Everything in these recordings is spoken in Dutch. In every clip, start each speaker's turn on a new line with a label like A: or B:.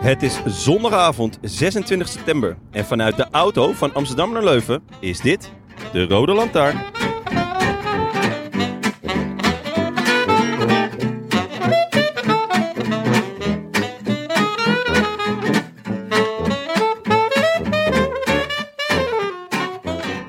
A: Het is zondagavond 26 september en vanuit de auto van Amsterdam naar Leuven is dit de Rode Lantaarn.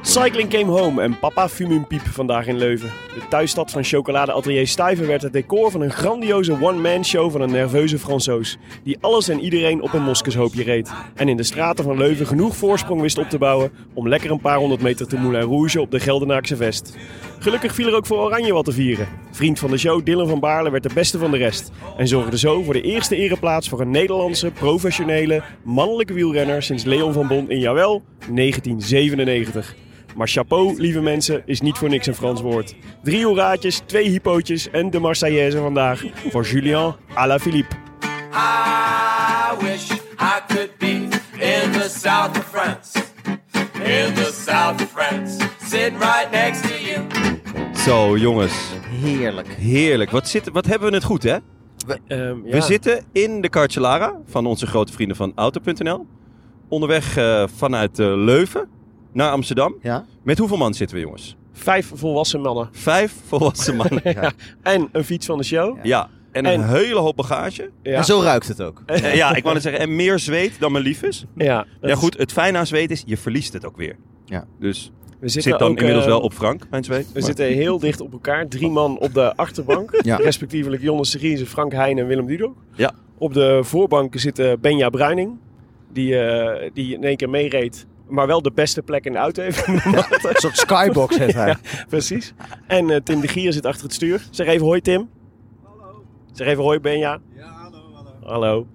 B: Cycling came home en papa fume een piep vandaag in Leuven. De thuisstad van chocoladeatelier Stuyven werd het decor van een grandioze one-man show van een nerveuze Fransoos. Die alles en iedereen op een moskushoopje reed. En in de straten van Leuven genoeg voorsprong wist op te bouwen om lekker een paar honderd meter te Moulin Rouge op de Geldenaakse vest. Gelukkig viel er ook voor Oranje wat te vieren. Vriend van de show Dylan van Baarle werd de beste van de rest. En zorgde zo voor de eerste ereplaats voor een Nederlandse, professionele, mannelijke wielrenner sinds Leon van Bon in, jawel, 1997. Maar chapeau, lieve mensen, is niet voor niks een Frans woord. Drie hoeraatjes, twee hypootjes en de Marseillaise vandaag voor Julien Alaphilippe.
C: I wish I could be in the south of France. In the south of France. Sitting right next to you.
A: Zo jongens,
D: Heerlijk.
A: heerlijk. Wat, zit, wat hebben we het goed hè?
B: Ehm,
A: We zitten in de Carcellara van onze grote vrienden van Auto.nl. Onderweg eh, vanuit eh, Leuven naar Amsterdam.
D: Ja?
A: Met hoeveel man zitten we jongens?
B: Vijf volwassen mannen
A: Vijf volwassen mannen. Ja,
B: en een fiets van de show.
A: en een
B: En-
A: hele hoop bagage.
B: Ja,
D: En zo ruikt het ook.
A: Eh, ja, ik wou net zeggen, en meer zweet dan mijn lief is.
B: Ja, dat
A: Ja
B: is-
A: goed, het fijne aan zweet is, je verliest het ook weer.
D: Ja.
A: Dus
B: We
A: zit,
B: zitten
A: dan
B: ook,
A: inmiddels
B: eh,
A: wel op Frank, mijn zweet.
B: We
A: maar-
B: zitten heel dicht op elkaar. Drie man op de achterbank.
D: Ja.
B: Respectievelijk Jonne Seriense, Frank Heijn en Willem Dudok.
A: Ja.
B: Op de voorbank zitten Benja Bruining. Die, eh, die in één keer meereed. Maar wel de beste plek in de auto heeft.
D: Een soort skybox heeft hij.
B: Precies. En eh, Tim de Gier zit achter het stuur. Zeg even hoi Tim. Hallo. Zeg even hoi Benja. Ja, hallo. Hallo.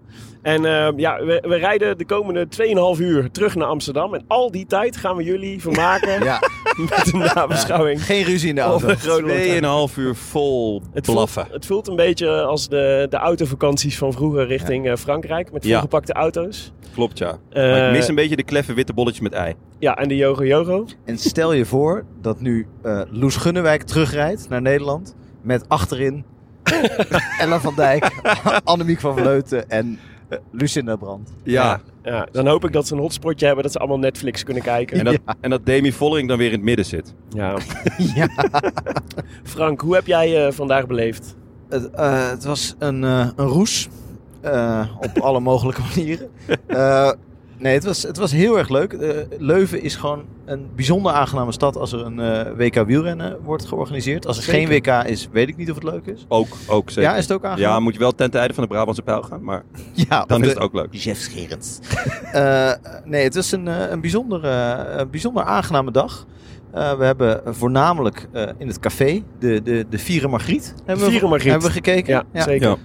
B: En eh, ja, we, we rijden de komende 2,5 uur terug naar Amsterdam. En al die tijd gaan we jullie vermaken
D: Ja.
B: met een nabeschouwing.
D: Geen ruzie in de
B: Of
D: auto.
B: een grote lantaarn.
A: 2,5 uur vol
B: Het
A: blaffen.
B: Voelt, het voelt een beetje als de, de autovakanties van vroeger richting eh, Frankrijk. Met
A: Ja.
B: volgepakte auto's.
A: Klopt, ja.
B: Eh,
A: maar ik mis een beetje de kleffe witte bolletjes met ei.
B: Ja, en de Yogo Yogo.
D: En stel je voor dat nu eh, Loes Gunnewijk terugrijdt naar Nederland. Met achterin Ella van Dijk, Annemiek van Vleuten en eh, Lucinda Brandt.
A: Ja.
B: Ja, dan hoop ik dat ze een hotspotje hebben dat ze allemaal Netflix kunnen kijken.
A: En, dat, en dat Demi Vollering dan weer in het midden zit.
B: Ja.
D: Ja.
B: Frank, hoe heb jij eh, vandaag beleefd?
D: Het, eh, het was een, eh, een roes. eh, op alle mogelijke manieren. Eh, nee, het was, het was heel erg leuk. Eh, Leuven is gewoon een bijzonder aangename stad als er een eh, WK wielrennen wordt georganiseerd. Als er geen WK is, weet ik niet of het leuk is.
A: Ook, ook zeker.
D: Ja, is het ook aangenaam?
A: Ja, moet je wel ten tijde van de Brabantse pijl gaan, maar
D: Ja,
A: dan
D: of
A: is
D: de-
A: het ook leuk.
D: Jeff Scherens. nee, het was een, eh, een, bijzonder, eh, een bijzonder aangename dag. Eh, we hebben voornamelijk eh, in het café de, de, de Vieren Margriet hebben,
B: Vieren
D: we,
B: Margriet.
D: hebben we gekeken.
B: Ja, zeker.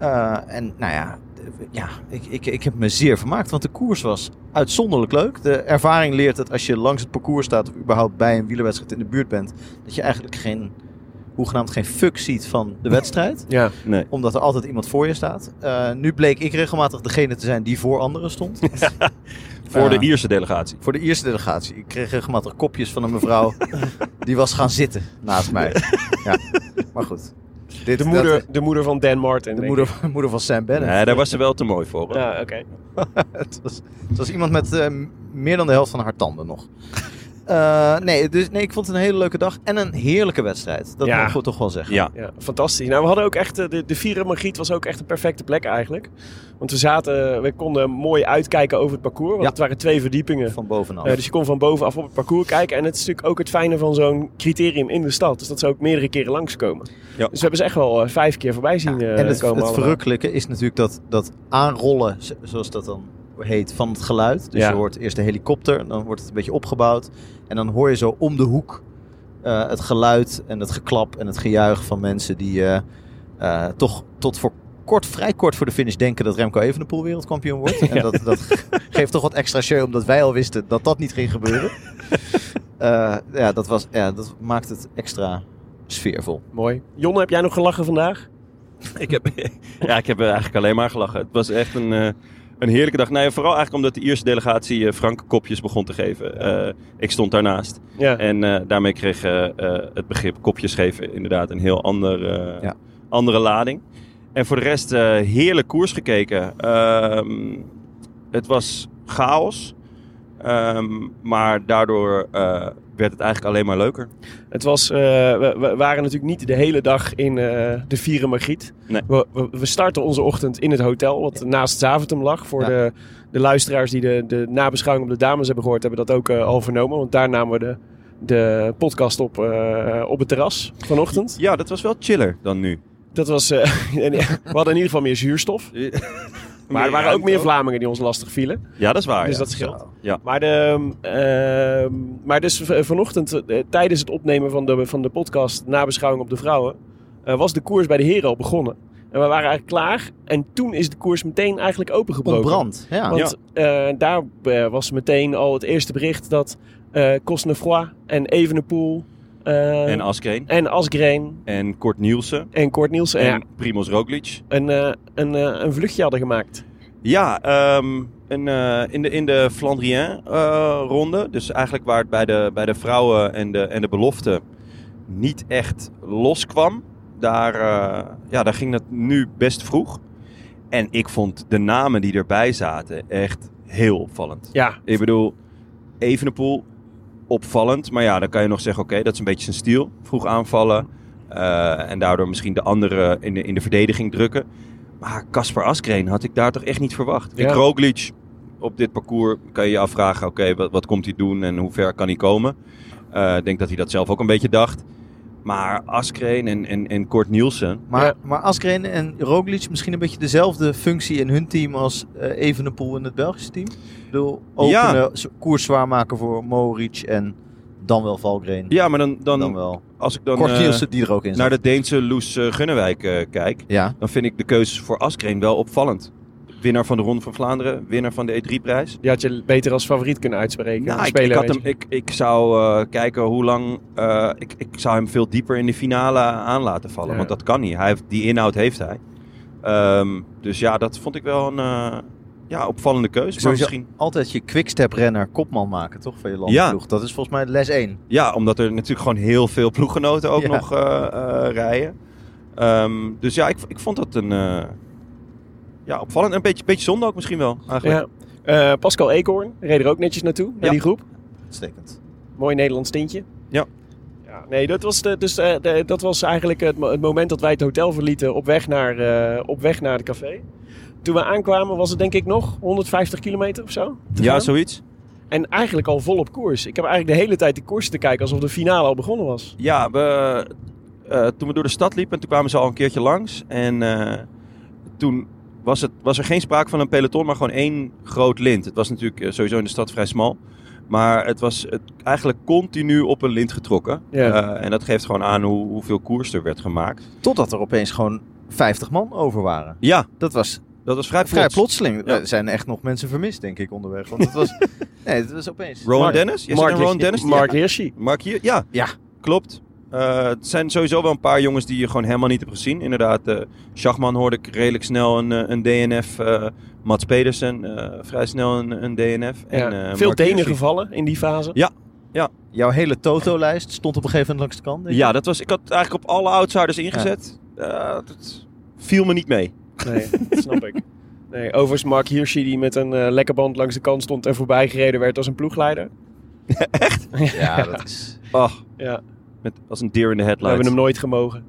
A: Ja.
D: Eh, en nou ja, d- ja ik, ik, ik heb me zeer vermaakt, want de koers was uitzonderlijk leuk. De ervaring leert dat als je langs het parcours staat of überhaupt bij een wielerwedstrijd in de buurt bent, dat je eigenlijk geen, hoegenaamd geen fuck ziet van de wedstrijd
B: Ja.
A: Nee.
D: omdat er altijd iemand voor je staat. Eh, nu bleek ik regelmatig degene te zijn die voor anderen stond.
A: Voor de
D: Ja.
A: Ierse delegatie.
D: voor de eerste delegatie. Ik kreeg regelmatig kopjes van een mevrouw die was gaan zitten naast mij. Ja. Maar goed. Dit,
B: De,
D: dat-
B: moeder, de moeder van Dan Martin.
D: de
B: denk
D: moeder, moeder van Sam Bennett.
A: Nee, daar was ze wel te mooi voor.
B: ik.
A: hoor.
B: Ja, oké.
D: het, was, het was iemand met eh, meer dan de helft van haar tanden nog. Eh, nee, dus, nee, ik vond het een hele leuke dag en een heerlijke wedstrijd. Dat
B: Ja.
D: mogen we toch wel zeggen.
A: Ja.
B: Ja, fantastisch. Nou, we hadden ook echt, eh, de, de Vira Margriet was ook echt een perfecte plek eigenlijk. Want we zaten, we konden mooi uitkijken over het parcours, want
D: Ja.
B: het waren twee verdiepingen.
D: Van bovenaf.
B: Eh, dus je kon van bovenaf op het parcours kijken. En het is natuurlijk ook het fijne van zo'n criterium in de stad. Dus dat ze ook meerdere keren langskomen.
A: Ja.
B: Dus we hebben ze echt wel eh, vijf keer voorbij zien eh,
D: en het,
B: komen.
D: het
B: allemaal.
D: verrukkelijke is natuurlijk dat, dat aanrollen, zo- zoals dat dan heet, van het geluid. Dus
B: Ja.
D: je hoort eerst de helikopter, dan wordt het een beetje opgebouwd. En dan hoor je zo om de hoek eh, het geluid en het geklap en het gejuich van mensen die eh, eh, toch tot voor kort, vrij kort voor de finish denken dat Remco Evenepoel wereldkampioen wordt. En dat, dat geeft toch wat extra show, omdat wij al wisten dat dat niet ging gebeuren. Eh, ja, dat was, ja, dat maakt het extra sfeervol.
B: Mooi. Jonne, heb jij nog gelachen vandaag?
A: Ik heb, ja, ik heb eigenlijk alleen maar gelachen. Het was echt een, eh, een heerlijke dag. Nou ja, vooral eigenlijk omdat de Ierse delegatie eh, Frank kopjes begon te geven. Eh, ik stond daarnaast.
B: Ja.
A: En eh, daarmee kreeg eh, eh, het begrip kopjes geven inderdaad een heel ander, eh,
D: Ja.
A: andere lading. En voor de rest eh, heerlijk koers gekeken. Ehm, het was chaos. Ehm, maar daardoor eh, werd het eigenlijk alleen maar leuker.
B: Het was, eh, we, we waren natuurlijk niet de hele dag in eh, de Vieren Margriet.
A: Nee.
B: We, we, we starten onze ochtend in het hotel, wat naast Zaventem lag. Voor
D: Ja.
B: de, de luisteraars die de, de nabeschouwing op de dames hebben gehoord, hebben dat ook eh, al vernomen. Want daar namen we de, de podcast op, eh, op het terras vanochtend.
A: Ja, dat was wel chiller dan nu.
B: Dat was, eh, en, ja, we hadden in ieder geval meer zuurstof. Maar er waren ook meer Vlamingen die ons lastig vielen.
A: Ja, dat is waar.
B: dus
A: Oh ja.
B: dat scheelt.
A: Ja.
B: Maar, de, ehm, maar dus v- vanochtend, eh, tijdens het opnemen van de, van de podcast Nabeschouwing op de Vrouwen, eh, was de koers bij de heren al begonnen. En we waren eigenlijk klaar. En toen is de koers meteen eigenlijk opengebroken.
D: Ontbrand, ja.
B: Want eh, daar eh, was meteen al het eerste bericht dat eh Cosnefroy en Evenepoel eh,
A: En Askeen.
B: en Asgreen
A: En Kort Nielsen.
B: en Kort Nielsen
A: En
B: eh,
A: Primoz Roglic.
B: een, eh, een, eh, een vluchtje hadden gemaakt.
A: Ja, ehm, een, eh, in de, in de Flandrien-ronde. dus eigenlijk waar het bij de, bij de vrouwen en de, en de belofte niet echt loskwam. Daar, eh, ja, daar ging dat nu best vroeg. En ik vond de namen die erbij zaten echt heel opvallend.
B: Ja,
A: Ik bedoel, Evenepoel, opvallend. Maar ja, dan kan je nog zeggen, oké, dat is een beetje zijn stiel. Vroeg aanvallen eh, en daardoor misschien de anderen in de, in de verdediging drukken. Maar Kasper Askreen had ik daar toch echt niet verwacht.
B: Ja.
A: Ik Roglic op dit parcours kan je je afvragen, oké, wat, wat komt hij doen en hoe ver kan hij komen? Eh, Ik denk dat hij dat zelf ook een beetje dacht. Maar Askreen en, en, en Kort Nielsen,
D: Maar,
B: Ja.
D: maar Askreen en Roglic misschien een beetje dezelfde functie in hun team als eh, Evenepoel in het Belgische team? Ik bedoel,
A: Ja.
D: openen, s- koers zwaar maken voor Moric en dan wel Valgren.
A: ja, maar dan, dan,
D: Dan wel.
A: als ik dan
D: Kort
A: eh,
D: Nielsen die er ook in zat.
A: naar de Deense Loes eh, Gunnewijk eh, kijk,
D: Ja,
A: dan vind ik de keuzes voor Askreen wel opvallend. Winnaar van de Ronde van Vlaanderen, winnaar van de E3-prijs.
B: die had je beter als favoriet kunnen uitspreken.
A: Nou,
B: Als
A: ik, ik,
B: eh, speler,
A: had
B: weet
A: hem, ik, ik zou eh, kijken hoe lang... eh, ik, ik zou hem veel dieper in de finale aan laten vallen.
B: Ja.
A: Want dat kan niet. Hij heeft, die inhoud heeft hij. Ehm, dus ja, dat vond ik wel een eh, ja, opvallende keuze. Maar
D: Sowieso-
A: misschien,
D: altijd je quickstep-renner kopman maken, toch? Van je landploeg. Dat is volgens mij les 1.
A: ja, omdat er natuurlijk gewoon heel veel ploeggenoten ook
D: Ja.
A: nog eh, eh, rijden. Ehm, dus ja, ik, ik vond dat een... eh, ja, opvallend. En Een beetje, beetje zonde ook misschien wel,
B: je.
A: eigenlijk.
B: Ja. Eh, Pascal Eekhoorn reed er ook netjes naartoe, naar
A: Ja.
B: die groep.
D: Uitstekend.
B: Mooi Nederlands tintje.
A: Ja.
B: Ja, nee, dat was, de, dus, eh, de- dat was eigenlijk het, mo- het moment dat wij het hotel verlieten op weg, naar, eh, op weg naar het café. Toen we aankwamen was het denk ik nog 150 kilometer of zo. te
A: ja
B: gaan.
A: zoiets.
B: En eigenlijk al vol op koers. Ik heb eigenlijk de hele tijd de koers te kijken alsof de finale al begonnen was.
A: Ja, we, eh, toen we door de stad liepen, toen kwamen ze al een keertje langs. En eh, toen was, het, was er geen sprake van een peloton, maar gewoon één groot lint. Het was natuurlijk eh, sowieso in de stad vrij smal. Maar het was het, eigenlijk continu op een lint getrokken.
B: Ja.
A: Eh, en dat geeft gewoon aan hoe, hoeveel koers er werd gemaakt.
D: Totdat er opeens gewoon 50 man over waren.
A: Ja,
D: Dat was
A: dat was vrij plots.
D: vrij plotseling.
A: Ja.
D: Er zijn echt nog mensen vermist, denk ik, onderweg. Want het was... nee, het was opeens...
A: Rowan
B: Mark-
A: Dennis? Je zit aan Rowan Dennis? die-
B: Mark Hirschi.
A: Mark hier? Ja.
D: Ja.
A: Klopt. Eh, het zijn sowieso wel een paar jongens die je gewoon helemaal niet hebt gezien. Inderdaad, eh Schachman hoorde ik redelijk snel een, eh, een DNF. eh Mats Pedersen eh, vrij snel een, een DNF.
B: Ja.
A: En, eh,
B: Veel
A: Mark
B: tenen
A: Hirschi.
B: gevallen in die fase.
D: Jouw hele toto-lijst stond op een gegeven moment langs de kant. denk ik.
A: Ja, dat was, ik had eigenlijk op alle outsiders ingezet. Eh, dat viel me niet mee.
B: Nee, dat snap ik. Nee, overigens Mark Hirschi die met een eh, lekkerband langs de kant stond en voorbij gereden werd als een ploegleider.
D: Echt? Ja, dat is...
A: Ach,
B: Ja.
A: met, als een deer in de
B: We hebben
A: headlights.
B: hem nooit gemogen.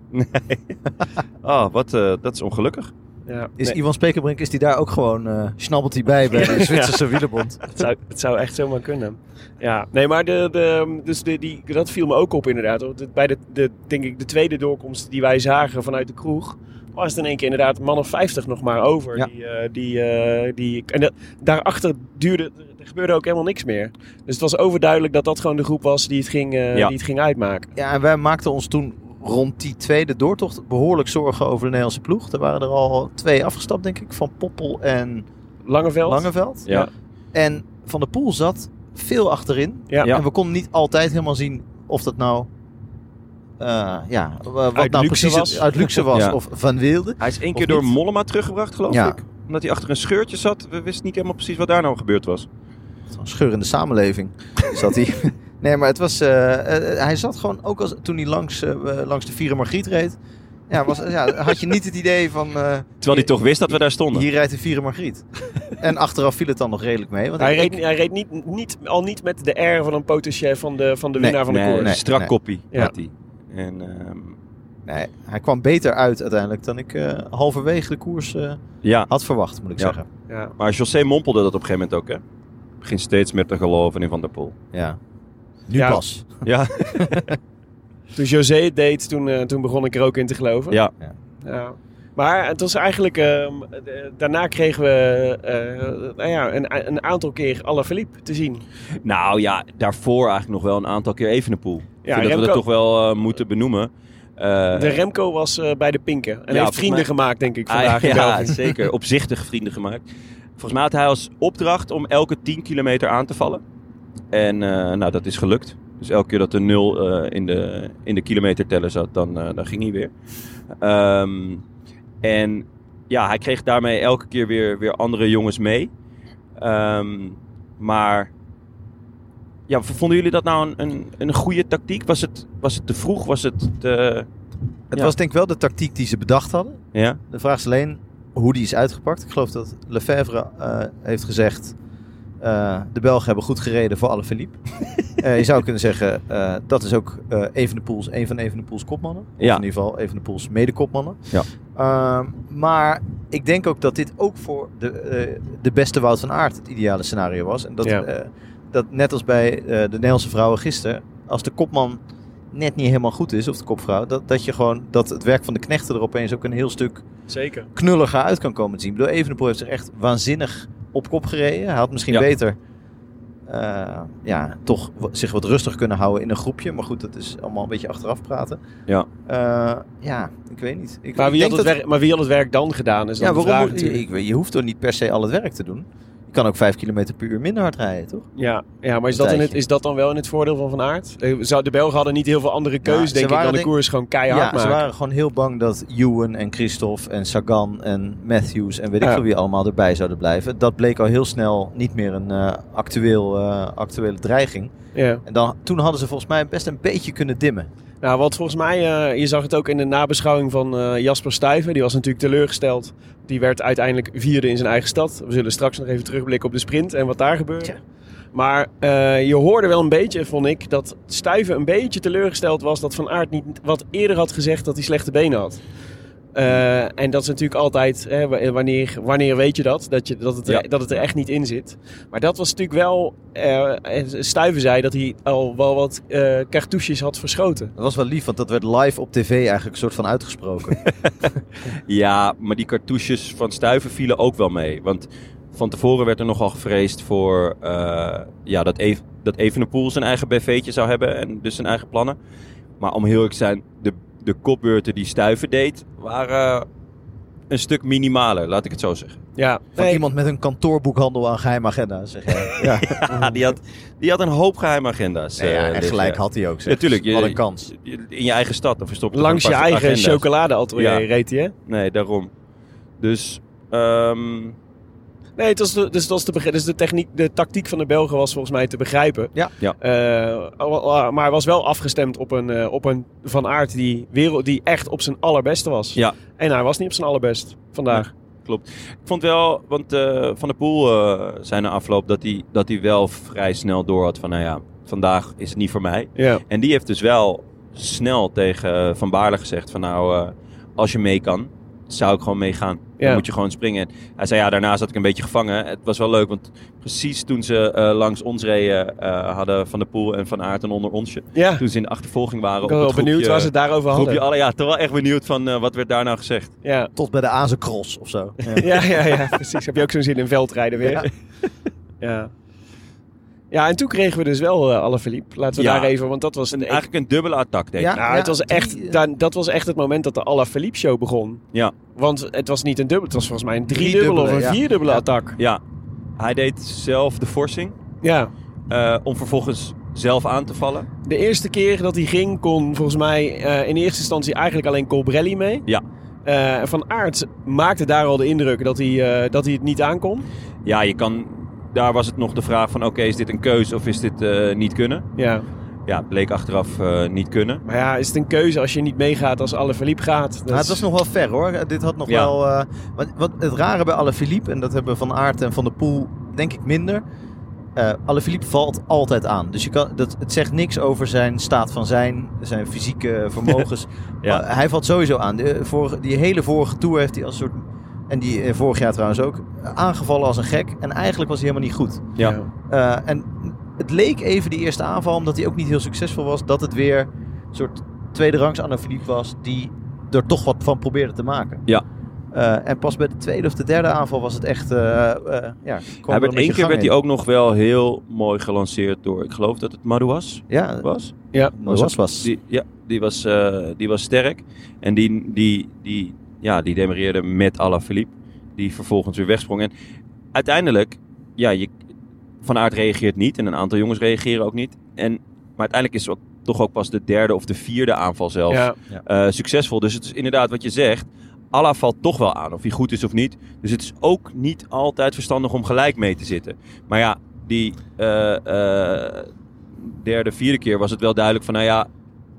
A: Ah, wat, eh, dat is ongelukkig.
B: Ja.
D: Is
B: nee,
D: Iwan Spekerbrink, is die daar ook gewoon... eh snabbelt hij bij bij de Zwitserse wielenbond?
B: het, zou, het zou echt zomaar kunnen. Ja, nee, maar de, de, dus de, die, dat viel me ook op inderdaad. hoor. De- Bij de, de, denk ik, de tweede doorkomst die wij zagen vanuit de kroeg... was het in één keer inderdaad een man of 50 nog maar over.
D: Ja.
B: Die, eh, die, eh, die, en dat- daarachter duurde... Er gebeurde ook helemaal niks meer. Dus het was overduidelijk dat dat gewoon de groep was die het ging, eh,
A: Ja.
B: die het ging uitmaken.
D: Ja, en wij maakten ons toen rond die tweede doortocht behoorlijk zorgen over de Nederlandse ploeg. Er waren er al twee afgestapt, denk ik, van Poppel en
B: Langeveld?
D: Langeveld.
A: Ja.
D: En Van der Poel zat veel achterin.
B: Ja.
D: En we konden niet altijd helemaal zien of dat nou... eh, ja, wa- wat
B: Uit
D: nou
B: luxe
D: precies
B: was.
D: het- uit luxe was
A: Ja.
D: of van wilde.
A: Hij is één
D: Of
A: keer door
D: niet?
A: Mollema teruggebracht, geloof
D: Ja.
A: ik. Omdat hij achter een scheurtje zat. We wisten niet helemaal precies wat daar nou gebeurd was.
D: Een scheur in de samenleving zat hij. Nee, maar het was. eh, eh, hij zat gewoon ook als, toen hij langs, eh, langs de Vieren Margriet reed. Ja, was, ja, had je niet het idee van. eh,
A: Terwijl hij toch wist dat we daar stonden.
D: hier rijdt de Vieren Margriet. En achteraf viel het dan nog redelijk mee. Want
B: Hij
D: ik-
B: reed, hij reed niet, niet, al niet met de R van een potentieel van de, van de
D: Nee,
B: winnaar van de
A: nee,
B: koers.
D: nee.
A: strak koppie
B: Ja.
A: had hij. En ehm,
D: nee, hij kwam beter uit uiteindelijk dan ik eh, halverwege de koers eh,
A: ja,
D: had verwacht, moet ik
A: Ja.
D: zeggen.
B: Ja.
A: maar José mompelde dat op een gegeven moment ook, hè. Begint steeds meer te geloven in Van der Poel.
D: Ja. Nu
B: Ja.
D: pas.
A: Ja,
B: Toen José het deed, toen, eh, toen begon ik er ook in te geloven.
A: ja.
B: Ja. Maar het was eigenlijk... ehm, eh, daarna kregen we eh, nou ja, een, een aantal keer Alaphilippe te zien.
A: Nou ja, daarvoor eigenlijk nog wel een aantal keer Evenepoel. Ja,
B: Ja,
A: dat we dat
B: Remco.
A: toch wel eh, moeten benoemen. Eh,
B: De Remco was eh, bij de pinken. En
A: Ja,
B: heeft vrienden
A: volgens
B: gemaakt, denk ik,
A: hij-
B: vandaag in
A: Ah, ja,
B: België.
A: zeker. Opzichtig vrienden gemaakt. Volgens mij had hij als opdracht om elke 10 kilometer aan te vallen. En eh, nou, dat is gelukt. Dus elke keer dat de nul eh, in, de, in de kilometerteller zat, dan, eh, dan ging hij weer. Ehm, en ja, hij kreeg daarmee elke keer weer, weer andere jongens mee. Ehm, maar ja, v- vonden jullie dat nou een, een, een goede tactiek? Was het, was het te vroeg? Was het te...
D: Het
A: Ja.
D: was denk ik wel de tactiek die ze bedacht hadden.
A: Ja?
D: De vraag is alleen hoe die is uitgepakt. Ik geloof dat Lefebvre eh, heeft gezegd... eh, de Belgen hebben goed gereden voor alle Philippe. je zou kunnen zeggen, eh, dat is ook eh Evenepoels, een van Evenepoels kopmannen.
A: Ja.
D: Of in ieder geval Evenepoels mede-kopmannen.
A: Ja.
D: Ehm, maar ik denk ook dat dit ook voor de, eh, de beste Wout van Aert het ideale scenario was. En dat,
B: Ja.
D: eh, dat net als bij eh, de Nederlandse vrouwen gisteren... als de kopman net niet helemaal goed is, of de kopvrouw... dat, dat, je gewoon, dat het werk van de knechten er opeens ook een heel stuk
B: Zeker.
D: knulliger uit kan komen te zien. Ik bedoel, Evenepoel heeft zich echt waanzinnig op kop gereden. Hij had misschien
A: Ja.
D: beter eh, ja, toch w- zich wat rustig kunnen houden in een groepje. Maar goed, dat is allemaal een beetje achteraf praten.
A: Ja.
D: Eh, ja ik weet niet. Ik,
B: Maar
D: ik
B: wie, had
D: denk
B: het werk, maar wie had het werk dan gedaan? Is dan
D: ja,
B: de
D: waarom
B: vraag
D: moet,
B: natuurlijk.
D: ik, weet- je hoeft toch niet per se al het werk te doen. Je kan ook vijf kilometer per uur minder hard rijden, toch?
B: Ja, ja maar is
D: Een
B: dat, in het,
D: tijdje.
B: is dat dan wel in het voordeel van Van Aert? Eh, zou- De Belgen hadden niet heel veel andere
D: Ja,
B: keus,
D: Nou, ze
B: denk ik,
D: waren
B: dan de
D: denk-
B: koers gewoon keihard
D: ja,
B: maken.
D: ze waren gewoon heel bang dat Ewan en Christophe en Sagan en Matthews en weet ik
B: Ja.
D: veel wie allemaal erbij zouden blijven. Dat bleek al heel snel niet meer een eh, actueel, eh, actuele dreiging.
B: Ja.
D: En dan, toen hadden ze volgens mij best een beetje kunnen dimmen.
B: Nou, wat volgens mij, eh, je zag het ook in de nabeschouwing van eh, Jasper Stuyven. Die was natuurlijk teleurgesteld. Die werd uiteindelijk vierde in zijn eigen stad. We zullen straks nog even terugblikken op de sprint en wat daar gebeurde.
D: Tja.
B: Maar eh, je hoorde wel een beetje, vond ik, dat Stuyven een beetje teleurgesteld was dat Van Aert niet wat eerder had gezegd dat hij slechte benen had. Eh, en dat is natuurlijk altijd, hè, wa- wanneer, wanneer weet je dat? Dat, je, dat, het er,
A: Ja.
B: dat het er echt niet in zit. Maar dat was natuurlijk wel, eh, Stuyven zei dat hij al wel wat eh cartouches had verschoten.
D: Dat was wel lief, want dat werd live op tv eigenlijk een soort van uitgesproken.
A: Ja, maar die cartouches van Stuiven vielen ook wel mee. Want van tevoren werd er nogal gevreesd voor eh, ja, dat, Eve, dat Evenepoel zijn eigen BV'tje zou hebben en dus zijn eigen plannen. Maar om heel eerlijk te zijn, de, de kopbeurten die Stuiven deed, waren een stuk minimaler, laat ik het zo zeggen.
B: Ja,
D: Van
B: nee,
D: iemand met een kantoorboekhandel aan geheime agenda, zeg jij. Ja,
A: Ja, die had, die had een hoop geheime agenda's.
D: Ah, Nee, ja,
A: eh,
D: en
A: dit
D: gelijk
A: jaar.
D: had hij ook, zeg.
A: Ja, tuurlijk, je-
D: Wat een kans.
A: In je eigen stad, dan verstopt
B: langs je eigen chocoladeatelier
A: Ja.
B: reed hij, hè?
A: Nee, daarom. Dus, ehm,
B: Nee, het was de, dus, het was te begrijpen. dus de, techniek, de tactiek van de Belgen was volgens mij te begrijpen.
D: Ja.
A: Ja.
B: Eh, al- al- maar was wel afgestemd op een, eh, op een Van Aert die, wereld, die echt op zijn allerbeste was.
A: Ja.
B: En hij was niet op zijn allerbest vandaag.
A: Ik vond wel, want eh, Van der Poel eh zei na afloop dat hij, dat hij wel vrij snel door had van, nou ja, vandaag is het niet voor mij.
B: Ja.
A: En die heeft dus wel snel tegen eh, Van Baarle gezegd van nou, eh, als je mee kan, zou ik gewoon meegaan.
B: Ja.
A: Dan moet je gewoon springen. En hij zei ja, daarna zat ik een beetje gevangen. Het was wel leuk, want precies toen ze eh, langs ons reden, eh, hadden Van der Poel en Van Aert een onder onsje.
B: Ja, ik
A: Toen ze in de achtervolging waren
B: ben
A: op
B: wel
A: het
B: benieuwd
A: groepje,
B: waar ze het daarover hadden.
A: groepje alle, ja, toch wel echt benieuwd van eh, wat werd daar nou gezegd.
B: ja.
D: Tot bij de Azencross of zo. Ja.
B: Ja, ja, ja, precies. Heb je ook zo'n zin in veldrijden weer? Ja.
D: Ja.
B: ja. en toen kregen we dus wel eh alle Philippe. Laten we
A: Ja.
B: daar even, want dat was een.
A: Eigenlijk een dubbele attack deed.
D: Ja.
A: hij.
B: nou, het was
D: die,
B: echt,
D: eh,
B: daar- dat was echt het moment dat de Alla Philippe show begon.
A: Ja.
B: Want het was niet een dubbel, het was volgens mij een driedubbele of een
D: Driedubbele, ja.
B: vierdubbele
D: Ja.
B: attack.
A: ja. Hij deed zelf de forcing
B: Ja.
A: eh, om vervolgens zelf aan te vallen.
B: De eerste keer dat hij ging, kon volgens mij eh, in eerste instantie eigenlijk alleen Colbrelli mee.
A: Ja.
B: Eh, van Aert maakte daar al de indruk dat hij, eh, dat hij het niet aankon.
A: Ja, je kan... Daar was het nog de vraag van, oké, is dit een keuze of is dit eh, niet kunnen?
B: Ja.
A: Ja, bleek achteraf eh, niet kunnen.
B: Maar ja, is het een keuze als je niet meegaat als alle Philippe gaat? Dat
D: Nou,
B: is-
D: het was nog wel ver hoor. Eh, Dit had nog
A: Dus Ja.
D: wel. eh, wat, wat het rare bij Alaphilippe, en dat hebben Van Aert en Van der Poel denk ik minder. Eh Alaphilippe valt altijd aan. Dus je kan, dat, het zegt niks over zijn staat van zijn, zijn fysieke vermogens.
A: Ja.
D: Maar hij valt sowieso aan. De, eh, vorige, die hele vorige tour heeft hij als soort. En die eh, vorig jaar trouwens ook. Aangevallen als een gek. En eigenlijk was hij helemaal niet goed.
A: Ja.
D: Eh, en het leek even die eerste aanval, omdat hij ook niet heel succesvol was, dat het weer een soort tweede rangs Anafiliep was die er toch wat van probeerde te maken.
A: Ja.
D: Eh, en pas bij de tweede of de derde aanval was het echt. eh, eh, ja, kwam
A: Hij
D: er
A: werd
D: een
A: één
D: beetje
A: keer
D: gang
A: werd
D: in.
A: hij ook nog wel heel mooi gelanceerd door, ik geloof dat het Maru was.
D: Ja,
A: was. Oh,
B: Ja.
D: was was. was.
A: Die, ja, die was, eh, die was sterk. En die, die, die, ja, die demereerde met Alaphilippe. Die vervolgens weer wegsprong. En uiteindelijk, ja, je, Van Aert reageert niet. En een aantal jongens reageren ook niet. En, maar uiteindelijk is ook, toch ook pas de derde of de vierde aanval zelf
B: Ja.
A: eh, succesvol. Dus het is inderdaad wat je zegt. Allah valt toch wel aan, of hij goed is of niet. Dus het is ook niet altijd verstandig om gelijk mee te zitten. Maar ja, die eh, eh, derde, vierde keer was het wel duidelijk van... nou ja,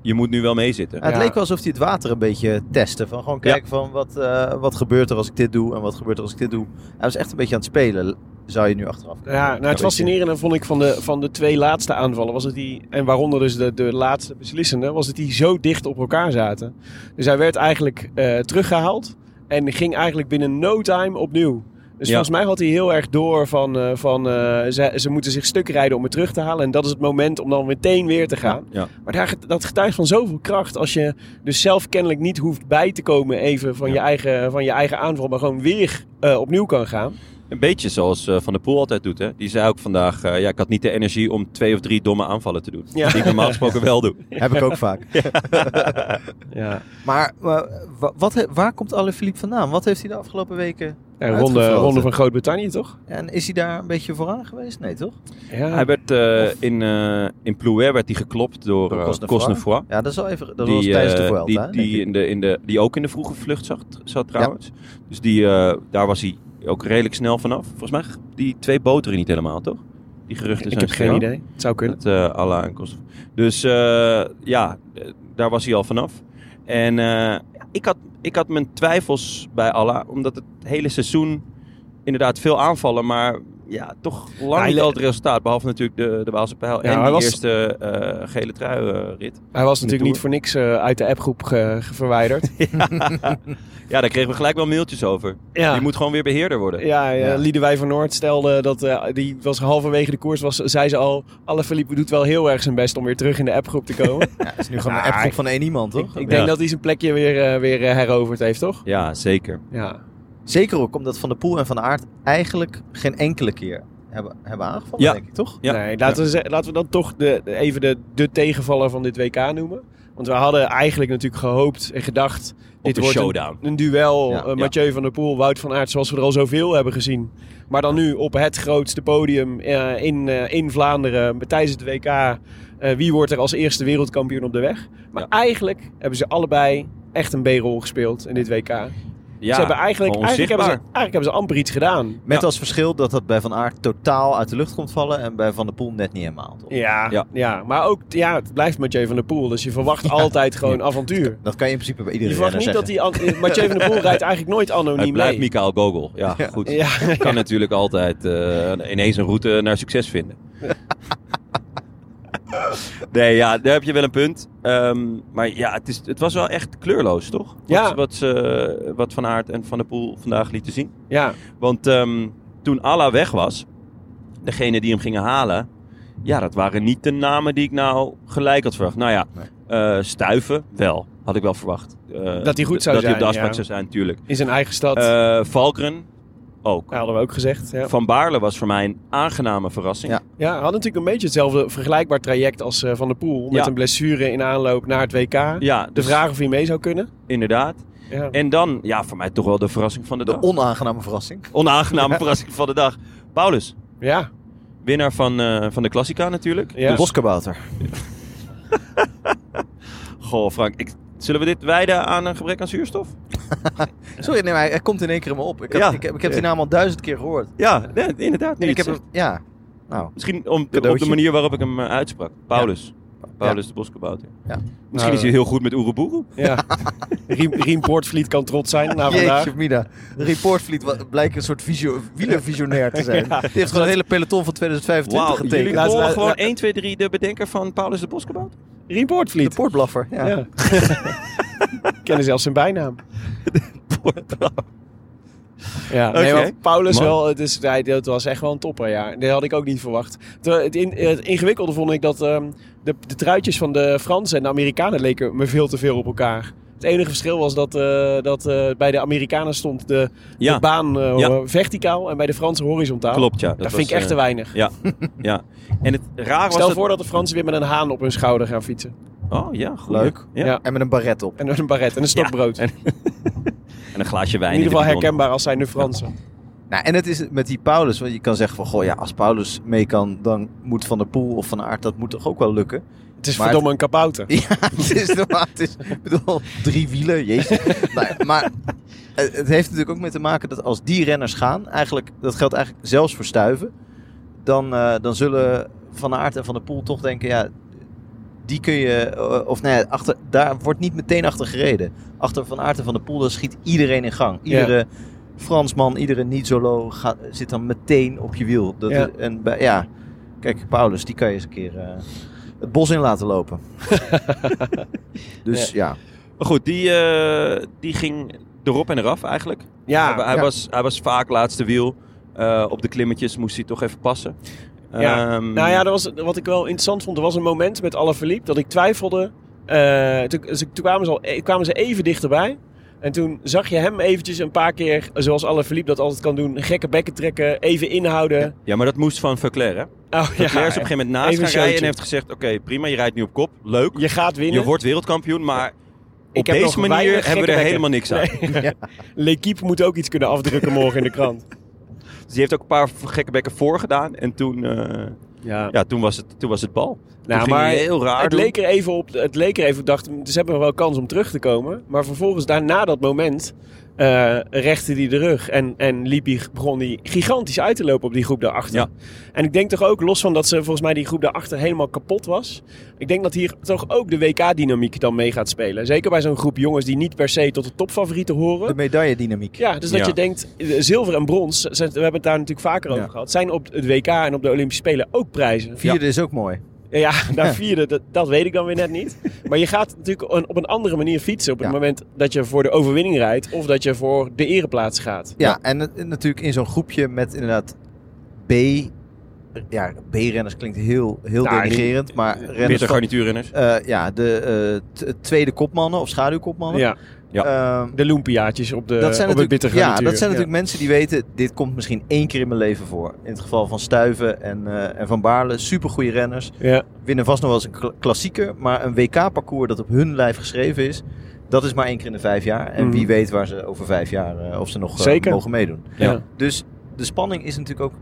A: je moet nu wel meezitten.
D: Ja, het
B: Ja.
D: leek wel alsof hij het water een beetje testte. Van gewoon kijken van wat, eh, wat gebeurt er als ik dit doe en wat gebeurt er als ik dit doe. Hij was echt een beetje aan het spelen, zou je nu achteraf kunnen
B: Ja,
D: zeggen.
B: nou het
D: Een beetje-
B: fascinerende vond ik van de, van de twee laatste aanvallen was het die, en waaronder dus de, de laatste beslissende, was het die zo dicht op elkaar zaten. Dus hij werd eigenlijk eh, teruggehaald en ging eigenlijk binnen no time opnieuw. Dus
A: Ja.
B: volgens mij had hij heel erg door van, eh, van eh, ze, ze moeten zich stuk rijden om het terug te halen. En dat is het moment om dan meteen weer te gaan.
A: Ja.
B: Maar daar, dat getuigt van zoveel kracht als je dus zelf kennelijk niet hoeft bij te komen even van,
A: Ja.
B: je, eigen, van je eigen aanval. Maar gewoon weer eh, opnieuw kan gaan.
A: Een beetje zoals eh, Van der Poel altijd doet. Hè? Die zei ook vandaag... eh, ja, ik had niet de energie om twee of drie domme aanvallen te doen.
B: Ja.
A: Die ik normaal gesproken wel doe.
D: Heb ik ook vaak.
B: Ja.
D: Maar eh, wa- wat, he- waar komt Alaphilippe vandaan? Wat heeft hij de afgelopen weken...
B: Ja, ronde,
D: Uitgefloten.
B: ronde van Groot-Brittannië, toch?
D: En is hij daar een beetje vooraan geweest? Nee, toch?
B: Ja.
A: Hij werd eh, in, eh in Plouet werd hij geklopt door
D: Door
A: eh,
D: Cosnefroid.
A: Cosnefroid.
D: Ja, dat is wel even... Dat was
A: Die,
D: tijdens de
A: eh,
D: Vuelta,
A: die,
D: hè, denk
A: die,
D: ik.
A: in de, in de, die ook in de vroege vlucht zat, zat trouwens. Dus die, eh, daar was hij ook redelijk snel vanaf. Volgens mij die twee boteren niet helemaal, toch? Die geruchten zijn
B: ik heb geen
A: gegaan.
B: idee. Het zou kunnen.
A: Dat eh Allah en Kosovo. Dus eh, ja, eh, daar was hij al vanaf. En eh, ik, had, ik had mijn twijfels bij Allah, omdat het hele seizoen inderdaad veel aanvallen, maar ja, toch lang
B: Hij
A: niet
B: le-
A: al het resultaat. Behalve natuurlijk de, de Waalse pijl
B: Ja,
A: en
B: hij
A: die
B: was-
A: eerste eh, gele trui-rit.
B: Hij was natuurlijk
A: Tour.
B: niet voor niks eh, uit de appgroep ge- ge- verwijderd.
A: ja, daar kregen we gelijk wel mailtjes over.
B: ja.
A: Je moet gewoon weer beheerder worden.
B: Ja, eh,
D: Ja.
B: Liedewij van Noord stelde dat eh, die was halverwege de koers, was, zei ze al, Alaphilippe doet wel heel erg zijn best om weer terug in de appgroep te komen.
D: Ja, het is nu gewoon een appgroep van één iemand, toch?
B: ik denk
A: Ja.
B: dat hij zijn plekje weer, eh, weer eh, heroverd heeft, toch?
A: Ja, zeker.
B: Ja.
D: Zeker ook omdat Van der Poel en Van Aert eigenlijk geen enkele keer hebben, hebben aangevallen,
A: Ja.
D: denk ik, toch?
A: Ja.
B: Nee, laten, we, ze- laten we dan toch de, de- even de, de tegenvaller van dit WK noemen. Want we hadden eigenlijk natuurlijk gehoopt en gedacht, dit
A: de
B: wordt een-
A: showdown.
B: een duel.
D: Ja,
B: eh, Mathieu van der Poel, Wout van Aert, zoals we er al zoveel hebben gezien. Maar dan nu op het grootste podium eh, in, eh, in Vlaanderen tijdens het WK. eh, wie wordt er als eerste wereldkampioen op de weg? Maar
A: Ja.
B: eigenlijk hebben ze allebei echt een B-rol gespeeld in dit WK.
A: Ja,
B: ze hebben eigenlijk,
A: gewoon
B: eigenlijk, hebben ze,
A: onzichtbaar.
B: eigenlijk hebben ze amper iets gedaan.
D: Met
A: Ja.
D: als verschil dat dat bij Van Aert totaal uit de lucht komt vallen en bij Van der Poel net niet helemaal. Toch?
B: Ja, ja.
A: Ja.
B: maar ook ja, het blijft Mathieu van der Poel. Dus je verwacht altijd gewoon avontuur.
D: Dat kan je in principe bij
B: Je
D: iedereen
B: verwacht
D: zeggen.
B: niet dat die... an- eh, Mathieu van der Poel rijdt eigenlijk nooit
A: Het
B: anoniem
A: blijft
B: mee.
A: Mikael Gogol. Ja, goed.
B: Ja,
A: Kan natuurlijk altijd eh, ineens een route naar succes vinden. Nee, ja, daar heb je wel een punt. Ehm, maar ja, het, is, het was wel echt kleurloos, toch? Wat,
E: Ja.
A: Wat, ze- wat Van Aert en Van der Poel vandaag lieten zien.
E: Ja,
A: Want ehm, toen Allah weg was, degene die hem gingen halen, ja, dat waren niet de namen die ik nou gelijk had verwacht. Nou ja, eh, Stuiven wel, had ik wel verwacht. Eh,
B: Dat hij goed zou
A: Dat hij op de
B: zijn,
A: afspraak
B: ja.
A: zou zijn, natuurlijk.
B: In zijn eigen stad.
A: Eh Valkeren ook.
B: Ja, hadden we ook gezegd. Ja.
A: Van Baarle was voor mij een aangename verrassing.
D: Ja.
B: Ja, hij had natuurlijk een beetje hetzelfde vergelijkbaar traject als eh, Van der Poel. Met
A: Ja.
B: een blessure in aanloop naar het WK.
A: Ja,
B: De
A: dus
B: vraag of hij mee zou kunnen.
A: inderdaad.
B: Ja.
A: En dan, ja, voor mij toch wel de verrassing van de,
D: De
A: dag.
D: onaangename verrassing.
A: Onaangename verrassing van de dag. Paulus,
B: ja.
A: winnaar van, eh, van de Klassica natuurlijk.
B: ja.
D: De boskabouter.
A: Goh, Frank, ik, zullen we dit wijden aan een gebrek aan zuurstof?
D: Sorry, nee, maar hij, hij komt in één keer in me op. Ik, had-
A: Ja.
D: ik, heb- ik heb die naam al duizend keer gehoord.
A: Ja, nee, inderdaad. Nu
D: En
A: je
D: ik
A: het
D: heb hem,
A: zegt.
D: ja. Nou,
A: Misschien om, op de
D: eh, Cadeautje.
A: manier waarop ik hem eh, uitsprak. Paulus. Paulus de Boskabouter.
D: Ja.
A: Misschien is hij heel goed met Oeroboeroe.
B: ja. Riem, Riem Poortvliet kan trots zijn na vandaag.
D: jeetje mina. Reportvliet wa- blijkt een soort visio, wielervisionair te zijn. Die heeft gewoon het hele peloton van 2025
A: Wauw, jullie
D: getekend.
B: Laat-
A: horen
B: laat-
A: gewoon
B: laat-
A: 1, 2, 3 de bedenker van Paulus de Boskabouter?
B: Riem
D: De
B: Poortvliet.
D: poortblaffer. Ja.
B: Ja. kennen zelfs zijn bijnaam. Ja, nee,
A: Oké.
B: maar Paulus
A: Man.
B: wel, het, is, hij, dat was echt wel een topper, ja. Dat had ik ook niet verwacht. Terwijl Het, in, het ingewikkelde vond ik dat ehm, de, de truitjes van de Fransen en de Amerikanen leken me veel te veel op elkaar. Het enige verschil was dat, eh, dat eh, bij de Amerikanen stond de,
A: Ja.
B: de baan eh,
A: Ja.
B: verticaal en bij de Fransen horizontaal.
A: Klopt, ja. eh,
B: Dat, vind ik echt te weinig.
A: Ja, ja. En het raar was
B: Stel
A: dat...
B: voor dat de Fransen weer met een haan op hun schouder gaan fietsen.
A: Oh ja, goed.
D: Leuk.
A: Ja.
B: Ja.
D: En met een baret op.
B: En een baret en een stokbrood.
A: Ja. En een glaasje wijn.
B: in ieder geval
A: de bidon.
B: herkenbaar als zijn de Fransen.
D: Nou, en het is met die Paulus, want je kan zeggen van, goh, ja, als Paulus mee kan, dan moet Van der Poel of Van Aert, dat moet toch ook wel lukken?
B: Het is
D: Maar
B: verdomme een kabouter.
D: Ja, het is normaal, het is, ik bedoel, drie wielen, jezus. nou, ja, maar eh, het heeft natuurlijk ook mee te maken dat als die renners gaan, eigenlijk, dat geldt eigenlijk zelfs voor stuiven, dan, eh, dan zullen Van Aert en Van der Poel toch denken, ja, die kun je, eh, of nee, achter, daar wordt niet meteen achter gereden. Achter Van Aert en Van der Poel, dan schiet iedereen in gang. Iedere Fransman, iedere niet-solo gaat- zit dan meteen op je wiel. Dat,
B: Ja.
D: En bij, ja, kijk, Paulus, die kan je eens een keer eh, het bos in laten lopen. dus ja.
A: Maar goed, die, eh, die ging erop en eraf eigenlijk.
B: Ja,
A: hij, hij
D: ja.
A: Was, hij was vaak laatste wiel. Eh, op de klimmetjes moest hij toch even passen.
B: Ja.
A: Ehm,
B: Nou ja, dat was, wat ik wel interessant vond, er was een moment met Alaphilippe dat ik twijfelde. Eh, toen toen kwamen, ze al, eh, kwamen ze even dichterbij. En toen zag je hem eventjes een paar keer, zoals Alaphilippe dat altijd kan doen, gekke bekken trekken, even inhouden.
A: ja, maar dat moest van Verclair, hè?
B: Oh, ja.
A: Verclair is op een gegeven moment naast
B: Even
A: gaan
B: een
A: rijden en
B: showtje.
A: heeft gezegd... Oké, prima, je rijdt nu op kop. Leuk.
B: Je gaat winnen.
A: Je wordt wereldkampioen, maar op
B: heb nog
A: deze manier
B: weinig
A: hebben we er
B: gekke
A: helemaal niks
B: bekken.
A: aan.
B: Nee. L'Equipe moet ook iets kunnen afdrukken morgen in de krant.
A: Dus die heeft ook een paar gekke bekken voorgedaan. En toen, eh,
B: Ja.
A: ja, toen, was, het, toen was het bal. Toen ging
B: Nou, maar
A: hij heel raar
B: het
A: doen.
B: leek er even op. Het leek er even op. Dacht, ze hebben nog wel kans om terug te komen. Maar vervolgens, daarna dat moment, eh rechtte hij de rug. En, en liep hij, begon hij gigantisch uit te lopen op die groep daarachter.
A: Ja.
B: En ik denk toch ook, los van dat ze volgens mij die groep daarachter helemaal kapot was. Ik denk dat hier toch ook de WK-dynamiek dan mee gaat spelen. Zeker bij zo'n groep jongens die niet per se tot de topfavorieten
D: De
B: horen.
D: medailledynamiek.
B: Ja, dus dat
A: Ja.
B: je denkt, eh, zilver en brons, zijn- we hebben het daar natuurlijk vaker over
D: Ja.
B: gehad, zijn op het WK en op de Olympische Spelen ook prijzen.
D: Vierde is ook mooi.
B: Ja, naar vierde, dat, dat weet ik dan weer net niet. Maar je gaat natuurlijk een- op een andere manier fietsen op het
D: Ja.
B: moment dat je voor de overwinning rijdt of dat je voor de ereplaats gaat.
D: Ja, en het- en natuurlijk in zo'n groepje met inderdaad B... Ja, B-renners klinkt heel, heel
B: Nou, die-
D: denigrerend, maar renners
A: Bitter
D: van,
A: garnituurrenners.
D: eh, ja, de eh, t- tweede kopmannen of schaduwkopmannen.
B: Ja,
D: Ehm,
B: de loempiaatjes op de
D: dat zijn
B: op het
D: natuurlijk,
B: bitter
D: ja,
B: garnituur.
D: dat zijn natuurlijk mensen die weten, dit komt misschien één keer in mijn leven voor. In het geval van Stuiven en, eh, en Van Baarle, supergoeie renners.
B: Ja.
D: Winnen vast nog wel eens een kla- klassieker, maar een WK-parcours dat op hun lijf geschreven is, dat is maar één keer in de vijf jaar. En
B: Mhm.
D: wie weet waar ze over vijf jaar, eh, of ze nog eh,
B: Zeker.
D: mogen meedoen.
B: Ja.
D: Dus de spanning is natuurlijk ook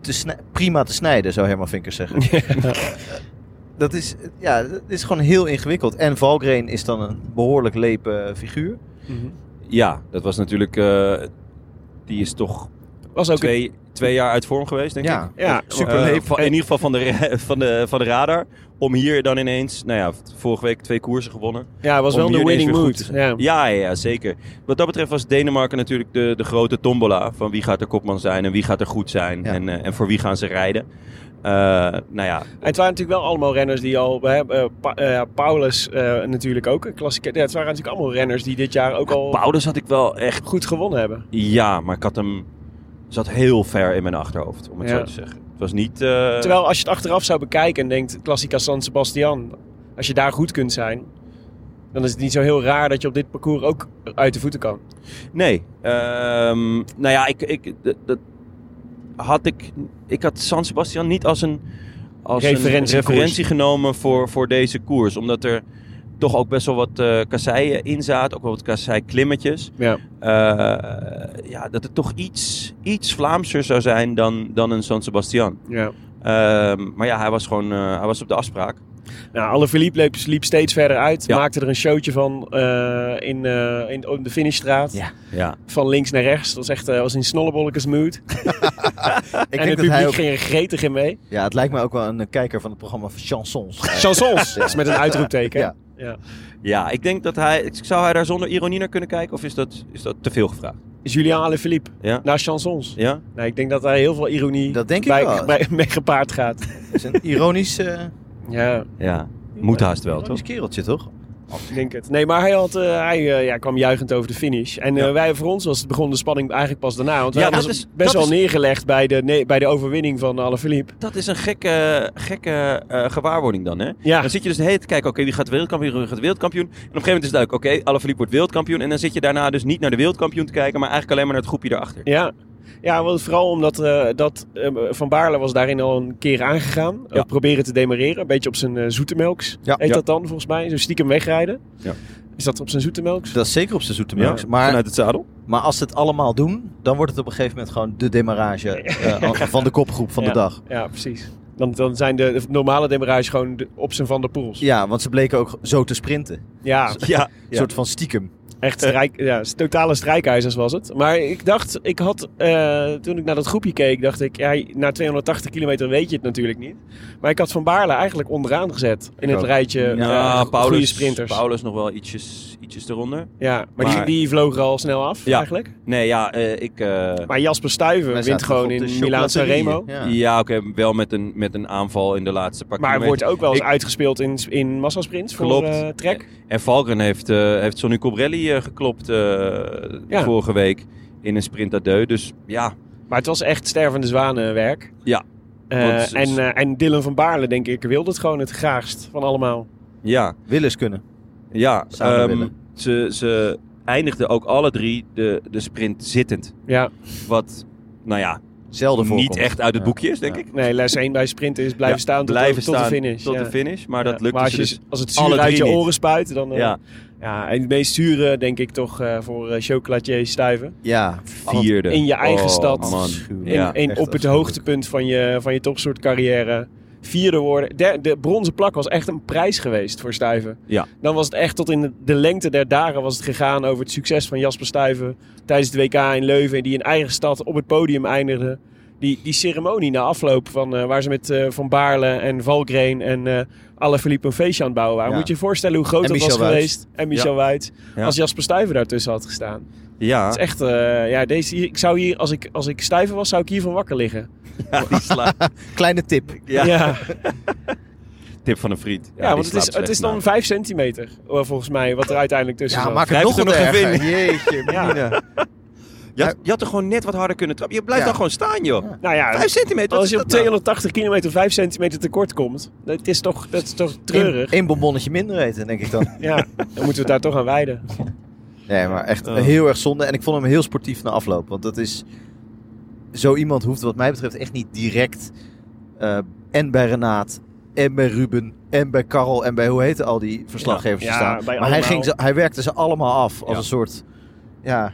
D: te snij- prima te snijden, zou Herman Vinkers zeggen. Eh, Dat is, eh, ja, dat is gewoon heel ingewikkeld. En Valkrein is dan een behoorlijk lepe eh, figuur.
B: Mhm.
A: Ja, dat was natuurlijk... eh, die is toch
B: Was ook een,
A: twee, twee jaar uit vorm geweest, denk ik.
D: Ja,
B: ja,
A: Eh,
D: superleuk.
A: van- in ieder geval van de, ra- van, de, van de radar. Om hier dan ineens, nou ja, vorige week twee koersen gewonnen.
B: ja, het was
A: Om
B: wel de
A: hier ineens
B: winning
A: weer
B: mood.
A: goed te-
B: Ja.
A: Ja, ja, ja, zeker. Wat dat betreft was Denemarken natuurlijk de, de grote tombola. Van wie gaat er kopman zijn en wie gaat er goed zijn.
D: Ja.
A: En, eh, en voor wie gaan ze rijden. Eh, nou ja,
B: En het waren natuurlijk wel allemaal renners die al... We hebben, eh, Pa- eh, Paulus eh, natuurlijk ook, een klassieker. Ja, het waren natuurlijk allemaal renners die dit jaar ook al
A: Paulus had ik wel echt...
B: goed gewonnen hebben.
A: Ja, maar ik had hem... Zat heel ver in mijn achterhoofd, om het
B: Ja.
A: zo te zeggen. Het was niet... eh,
B: Terwijl als je het achteraf zou bekijken en denkt, Klassica San Sebastian, als je daar goed kunt zijn, dan is het niet zo heel raar dat je op dit parcours ook uit de voeten kan.
A: Nee. Ehm, nou ja, ik, ik, dat, dat had ik, ik had San Sebastian niet als een, als een
B: Referentiekoers.
A: referentie genomen voor, voor deze koers. Omdat er toch ook best wel wat eh kasseien in zaten. Ook wel wat kasseiklimmetjes.
B: Ja.
A: Eh, ja, dat het toch iets, iets Vlaamser zou zijn dan, dan een San Sebastian.
B: Ja.
A: Ehm, maar ja, hij was gewoon eh, hij was op de afspraak.
B: Nou, alle Philippe liep, liep steeds verder uit,
A: Ja.
B: maakte er een showtje van eh, in, eh, in, op de finishstraat.
D: Ja.
A: Ja.
B: Van links naar rechts. Dat was echt eh, was in snollebollekes mood.
D: Ik
B: en
D: denk
B: het
D: dat
B: publiek
D: hij ook,
B: ging er gretig in mee.
D: ja, het lijkt me ook wel een eh, kijker van het programma Chansons.
B: Chansons. Dat is met een uitroepteken.
D: Ja.
A: ja, ik denk dat hij... Zou hij daar zonder ironie naar kunnen kijken? Of is dat, is dat te veel gevraagd?
B: Julien Alaphilippe.
A: Ja.
B: Naar chansons.
A: Ja?
B: Nou, ik denk dat daar heel veel ironie
D: Dat denk ik
B: bij,
D: wel.
B: bij- mee gepaard gaat.
D: Het is een ironisch, eh
B: Ja.
A: Ja. Moet haast wel, toch?
D: ironisch kereltje, toch?
B: Ik denk het. Nee, maar hij, had, eh, hij eh, ja, kwam juichend over de finish. En eh, wij, voor ons was, begon de spanning eigenlijk pas daarna. Want wij
A: Ja,
B: hadden
A: dat
B: ons
A: is-
B: best
A: dat
B: wel
A: is-
B: neergelegd bij de, nee, bij de overwinning van Alaphilippe.
A: Dat is een gekke, gekke eh, gewaarwording dan, hè?
B: Ja.
A: Dan zit je dus de hele tijd te kijken, oké, wie gaat wereldkampioen, wie gaat wereldkampioen. En op een gegeven moment is het duidelijk, oké, Alaphilippe wordt wereldkampioen. En dan zit je daarna dus niet naar de wereldkampioen te kijken, maar eigenlijk alleen maar naar het groepje daarachter.
B: Ja, ja want vooral omdat eh, dat, eh, Van Baarle was daarin al een keer aangegaan.
A: Ja.
B: Ook proberen te demareren. Een beetje op zijn eh, zoete melks.
D: Ja.
B: Heet
A: Ja.
B: dat dan volgens mij? Zo stiekem wegrijden.
A: Ja.
B: Is dat op zijn zoete melks?
D: Dat is zeker op zijn zoete melk. maar,
A: Vanuit het zadel.
D: maar als ze het allemaal doen, dan wordt het op een gegeven moment gewoon de demarrage eh, van de kopgroep van
B: Ja.
D: de dag.
B: Ja, precies. Dan, dan zijn de, de normale demarages gewoon de- op zijn Van der Poels.
D: Ja, want ze bleken ook zo te sprinten.
B: ja.
A: Ja.
D: Een soort van stiekem.
B: Echt strijk, ja, s- totale strijkijzers was het. Maar ik dacht, ik had, eh, toen ik naar dat groepje keek, dacht ik, ja, na 280 kilometer weet je het natuurlijk niet. Maar ik had Van Baarle eigenlijk onderaan gezet in het
D: ook.
B: rijtje
A: Nou,
B: eh, goede sprinters.
A: Paulus nog wel ietsjes, ietsjes eronder.
B: Ja, maar, Die,
A: Maar-
B: die vloog er al snel af
A: Ja.
B: eigenlijk.
A: Nee, ja, eh, ik... eh,
B: Maar Jasper Stuiven
D: Wij
B: wint
D: zaten
B: gewoon
D: nog op de
B: in Milaan
D: chocolaterie.
B: Sanremo.
D: Ja.
A: ja, oké, wel met een, met een aanval in de laatste paar
B: Maar
A: kilometer.
B: wordt ook wel eens
A: Ik-
B: uitgespeeld in, in massasprints voor
A: Klopt.
B: eh Trek.
A: En Valken heeft, eh, heeft Sonny Cobrelli eh, geklopt eh,
B: Ja.
A: vorige week in een sprint à deux. Dus ja,
B: Maar het was echt stervende zwanenwerk.
A: Ja.
B: Eh,
A: Want-
B: en, eh, en Dylan van Baarle, denk ik, wilde het gewoon het graagst van allemaal.
A: ja.
D: Willen ze kunnen.
A: Ja,
D: Zouden
A: ehm,
D: willen.
A: ze, ze eindigden ook alle drie de, de sprint zittend.
B: Ja.
A: Wat, nou ja,
D: Zelden voorkomt.
A: niet echt uit het
D: Ja.
A: boekje is, denk ik.
B: Nee, les 1 bij sprinten is blijven
A: Ja,
B: staan tot,
A: blijven
B: tot
A: staan
B: de finish.
A: Tot
B: ja.
A: de finish, maar
B: Ja,
A: dat lukte
B: maar als,
A: ze
B: je,
A: dus.
B: als het
A: alle
B: zuur uit je
A: drie niet.
B: oren spuit, dan... eh, ja.
A: Ja,
B: en het meest zure, denk ik toch, eh, voor eh chocolatier stuiven.
D: Ja,
A: vierde.
B: in je eigen
A: Oh,
B: stad.
A: man.
D: Afschuwelijk.
A: Ja.
B: en
D: echt
B: op het
D: afschuwelijk.
B: hoogtepunt van je, van je topsoort carrière. Vierde worden. De, de bronzen plak was echt een prijs geweest voor Stuiven.
A: Ja.
B: Dan was het echt tot in de- de lengte der dagen was het gegaan over het succes van Jasper Stuiven tijdens het WK in Leuven. Die in eigen stad op het podium eindigde. Die, die ceremonie na afloop van, eh, waar ze met eh, Van Baarle en Valkrein en eh Alaphilippe een feestje aan het bouwen waren.
D: Ja.
B: Moet je je voorstellen hoe groot
D: En
B: dat was
D: Michel Wuyts.
B: geweest. En Michel Wuyts.
A: Ja.
B: Als Jasper Stuiven daartussen had gestaan.
A: Ja,
B: Het is echt, eh, ja, deze hier, ik zou hier, als ik, als ik stijver was, zou ik hiervan wakker liggen.
A: ja, die sla-
D: Kleine tip.
A: ja,
B: ja.
A: tip van een vriend.
B: Ja, want het is, het is dan 5 centimeter, eh, volgens mij, wat er uiteindelijk tussen
D: Ja,
B: zat.
D: maak het
A: Grijp
D: nog
A: het
D: wat
A: er nog even
D: erger. Jeetje, Mina.
A: Je had, je had er gewoon net wat harder kunnen trappen. Je blijft
D: Ja.
A: dan gewoon staan, joh.
B: Nou ja,
A: Vijf centimeter, wat
B: als
A: is
B: je
A: dat
B: op
A: nou?
B: 280 kilometer 5 centimeter tekort komt, dat is toch, dat is toch treurig.
D: Eén bonbonnetje minder eten, denk ik dan.
B: Ja, dan moeten we het daar toch aan wijden.
D: Nee, maar echt
B: Oh.
D: heel erg zonde. En ik vond hem heel sportief na afloop. Want dat is... Zo iemand hoeft wat mij betreft echt niet direct... eh, en bij Renaat, en bij Ruben, en bij Karel... en bij hoe heten al die verslaggevers
B: Ja,
D: te
B: ja,
D: staan.
B: bij
D: maar hij,
B: allemaal.
D: ging ze, hij werkte ze allemaal af als
A: Ja.
D: een soort... Ja,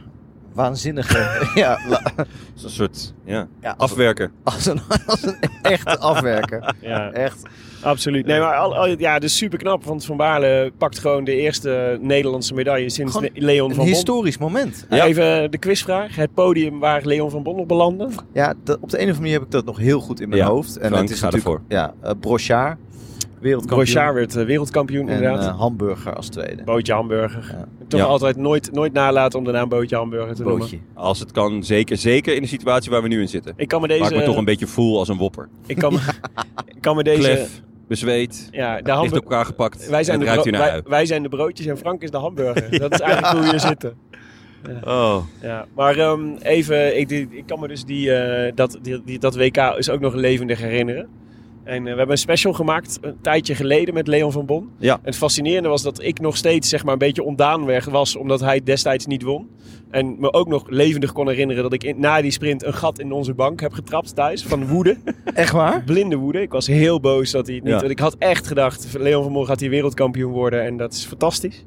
D: waanzinnige... ja, la-
A: Dat is een soort ja,
D: ja, als,
A: afwerken.
D: als, een, als een echte afwerker.
B: Ja,
D: Echt.
B: absoluut. Nee, maar al, al- ja, dus super knap, want Van Baarle pakt gewoon de eerste Nederlandse medaille sinds
D: Gewoon
B: Ne- Leon
D: Een
B: van Bon.
D: historisch moment.
B: Ja. Even de quizvraag. Het podium waar Leon van Bon op belandde.
D: Ja, dat- op de een of andere manier heb ik dat nog heel goed in mijn
A: Ja,
D: hoofd. En
A: Frank,
D: het is
A: ga
D: natuurlijk ja, eh, Brochard, wereldkampioen.
B: Rochard werd eh, wereldkampioen,
D: en
B: inderdaad.
D: eh, Hamburger als tweede.
B: Bootje Hamburger.
D: Ja.
B: Toch
A: Ja.
B: altijd nooit, nooit nalaten om de naam Bootje Hamburger te noemen.
D: Bootje.
A: Als het kan, zeker, zeker in de situatie waar we nu in zitten.
B: Ik kan me
A: Maak
B: deze...
A: me toch een beetje voel als een wopper.
B: ik, kan, me- ik kan me deze...
A: Klef, bezweet,
B: Ja, de
A: dicht op
B: hamburger...
A: elkaar gepakt.
B: Wij zijn,
A: het
B: de
A: ruikt
B: bro-
A: hier naar
B: wij,
A: ui.
B: wij zijn de broodjes en Frank is de hamburger. Dat is eigenlijk hoe we hier zitten.
A: Oh.
B: Ja. Maar ehm, even, ik, die- ik kan me dus die, eh, dat, die, die- dat WK is ook nog levendig herinneren. En eh, we hebben een special gemaakt een tijdje geleden met Leon van Bon.
A: Ja.
B: Het fascinerende was dat ik nog steeds zeg maar, een beetje ontdaan weg was, omdat hij destijds niet won. En me ook nog levendig kon herinneren dat ik in- na die sprint een gat in onze bank heb getrapt thuis. Van woede,
D: Echt waar?
B: blinde woede. Ik was heel boos dat hij het niet...
A: Ja.
B: Want ik had echt gedacht, Leon van Bon gaat hier wereldkampioen worden en dat is fantastisch.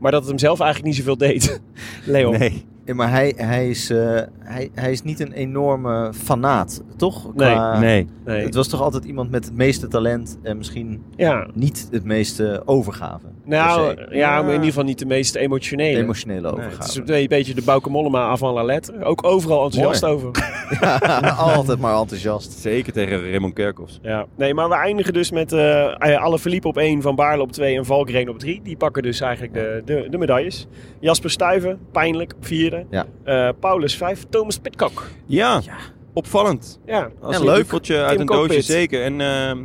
B: Maar dat het hem zelf eigenlijk niet zoveel deed. Leon.
A: Nee.
D: Ja, maar hij, hij, is, eh, hij, hij is niet een enorme fanaat, toch?
B: Ah.
D: Qua-
A: nee.
B: Nee.
D: Het was toch altijd iemand met het meeste talent en misschien
B: Ja,
D: niet het meeste overgave.
B: nou
A: eh,
D: per se.
B: ja, maar in ieder geval niet de meest emotionele.
D: Dus, eh, Emotionele
B: het is
D: overgave.
B: een be- beetje de Bauke Mollema avant la lettre. Ook overal enthousiast over.
D: Ja, altijd maar enthousiast.
A: Zeker tegen Raymond Kerkhoffs.
B: Ja. Nee, maar we eindigen dus met eh alle Philippe op 1, Van Baarle op 2 en Valkrein op 3. Die pakken dus eigenlijk de, de, de medailles. Jasper Stuyven, pijnlijk, op vierde.
D: Ja.
B: Eh, Paulus 5, Thomas Pitcock.
A: Ja, opvallend.
B: Ja,
A: Als
D: Ja,
A: een
D: leuk.
A: duveltje uit
B: Tim
A: een doosje,
B: Cockpit.
A: zeker. En ehm,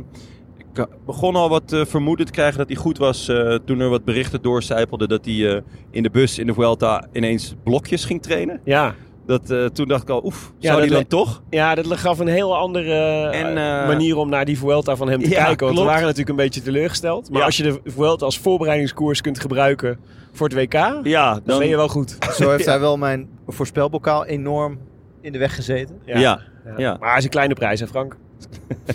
A: ik ha- begon al wat eh, vermoeden te krijgen dat hij goed was. eh, toen er wat berichten doorcijpelden dat hij eh, in de bus in de Vuelta ineens blokjes ging trainen.
B: ja.
A: Dat, eh, toen dacht ik al, oef,
B: Ja,
A: zou
B: dat
A: hij dan
B: le-
A: toch?
B: ja dat gaf een heel andere eh,
A: En, eh,
B: manier om naar die Vuelta van hem te
A: Ja,
B: kijken. Want we
A: klopt.
B: waren natuurlijk een beetje teleurgesteld. Maar
A: Ja.
B: als je de Vuelta als voorbereidingskoers kunt gebruiken voor het WK, dan,
A: Ja, dan...
B: ben je wel goed.
D: Zo heeft hij wel mijn voorspelbokaal enorm in de weg gezeten.
A: Ja. Ja.
B: Maar het is een kleine prijs, hè Frank?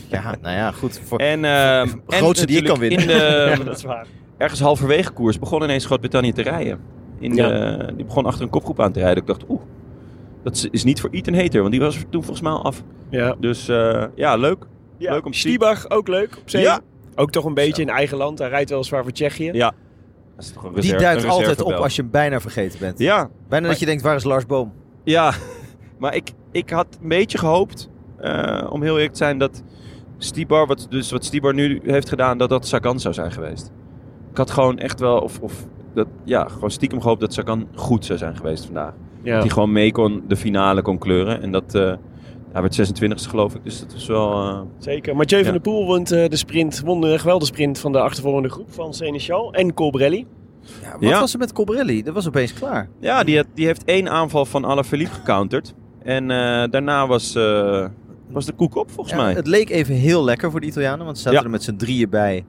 D: Ja, nou ja, goed. Voor...
A: En, ehm, en
D: Grootste die je kan
A: natuurlijk In de,
B: is waar.
A: ergens halverwege koers begon ineens Groot-Brittannië te rijden. In de, Die begon achter een kopgroep aan te rijden. Ik dacht, oeh, dat is- is niet voor Ethan Hater, want die was er toen volgens mij al af.
B: Ja.
A: Dus eh, ja, leuk. Leuk om te zien.
B: Stiebach, ook leuk op zee.
A: Ja.
B: Ook toch een beetje in eigen land. Hij rijdt weliswaar voor Tsjechië.
A: Ja. Dat is toch een
D: Die
A: reserve-
D: duikt
A: een
D: altijd op
A: reservebel.
D: als je hem bijna vergeten bent.
A: Ja,
D: Bijna dat je denkt, waar is Lars Boom?
A: ja. maar ik, ik had een beetje gehoopt, eh, om heel eerlijk te zijn, dat Stibar, wat, dus wat Stibar nu heeft gedaan, dat dat Sagan zou zijn geweest. Ik had gewoon echt wel, of, of dat, ja, gewoon stiekem gehoopt dat Sagan goed zou zijn geweest vandaag.
B: Ja.
A: Dat hij gewoon mee kon, de finale kon kleuren. En dat, eh hij werd 26 geloof ik, dus dat was wel... eh,
B: Zeker. Mathieu van
A: Ja.
B: der Poel won eh, de sprint. Won de geweldige sprint van de achtervolgende groep van Seneschal en Colbrelli.
D: Ja, wat
A: Ja.
D: was er met Cobrelli? Dat was opeens klaar.
A: Ja, die, had- die heeft één aanval van Alaphilippe gecounterd. En eh, daarna was, eh, was de koek op, volgens
D: Ja,
A: mij.
D: Het leek even heel lekker voor de Italianen, want ze zaten
A: Ja.
D: er met z'n drieën bij.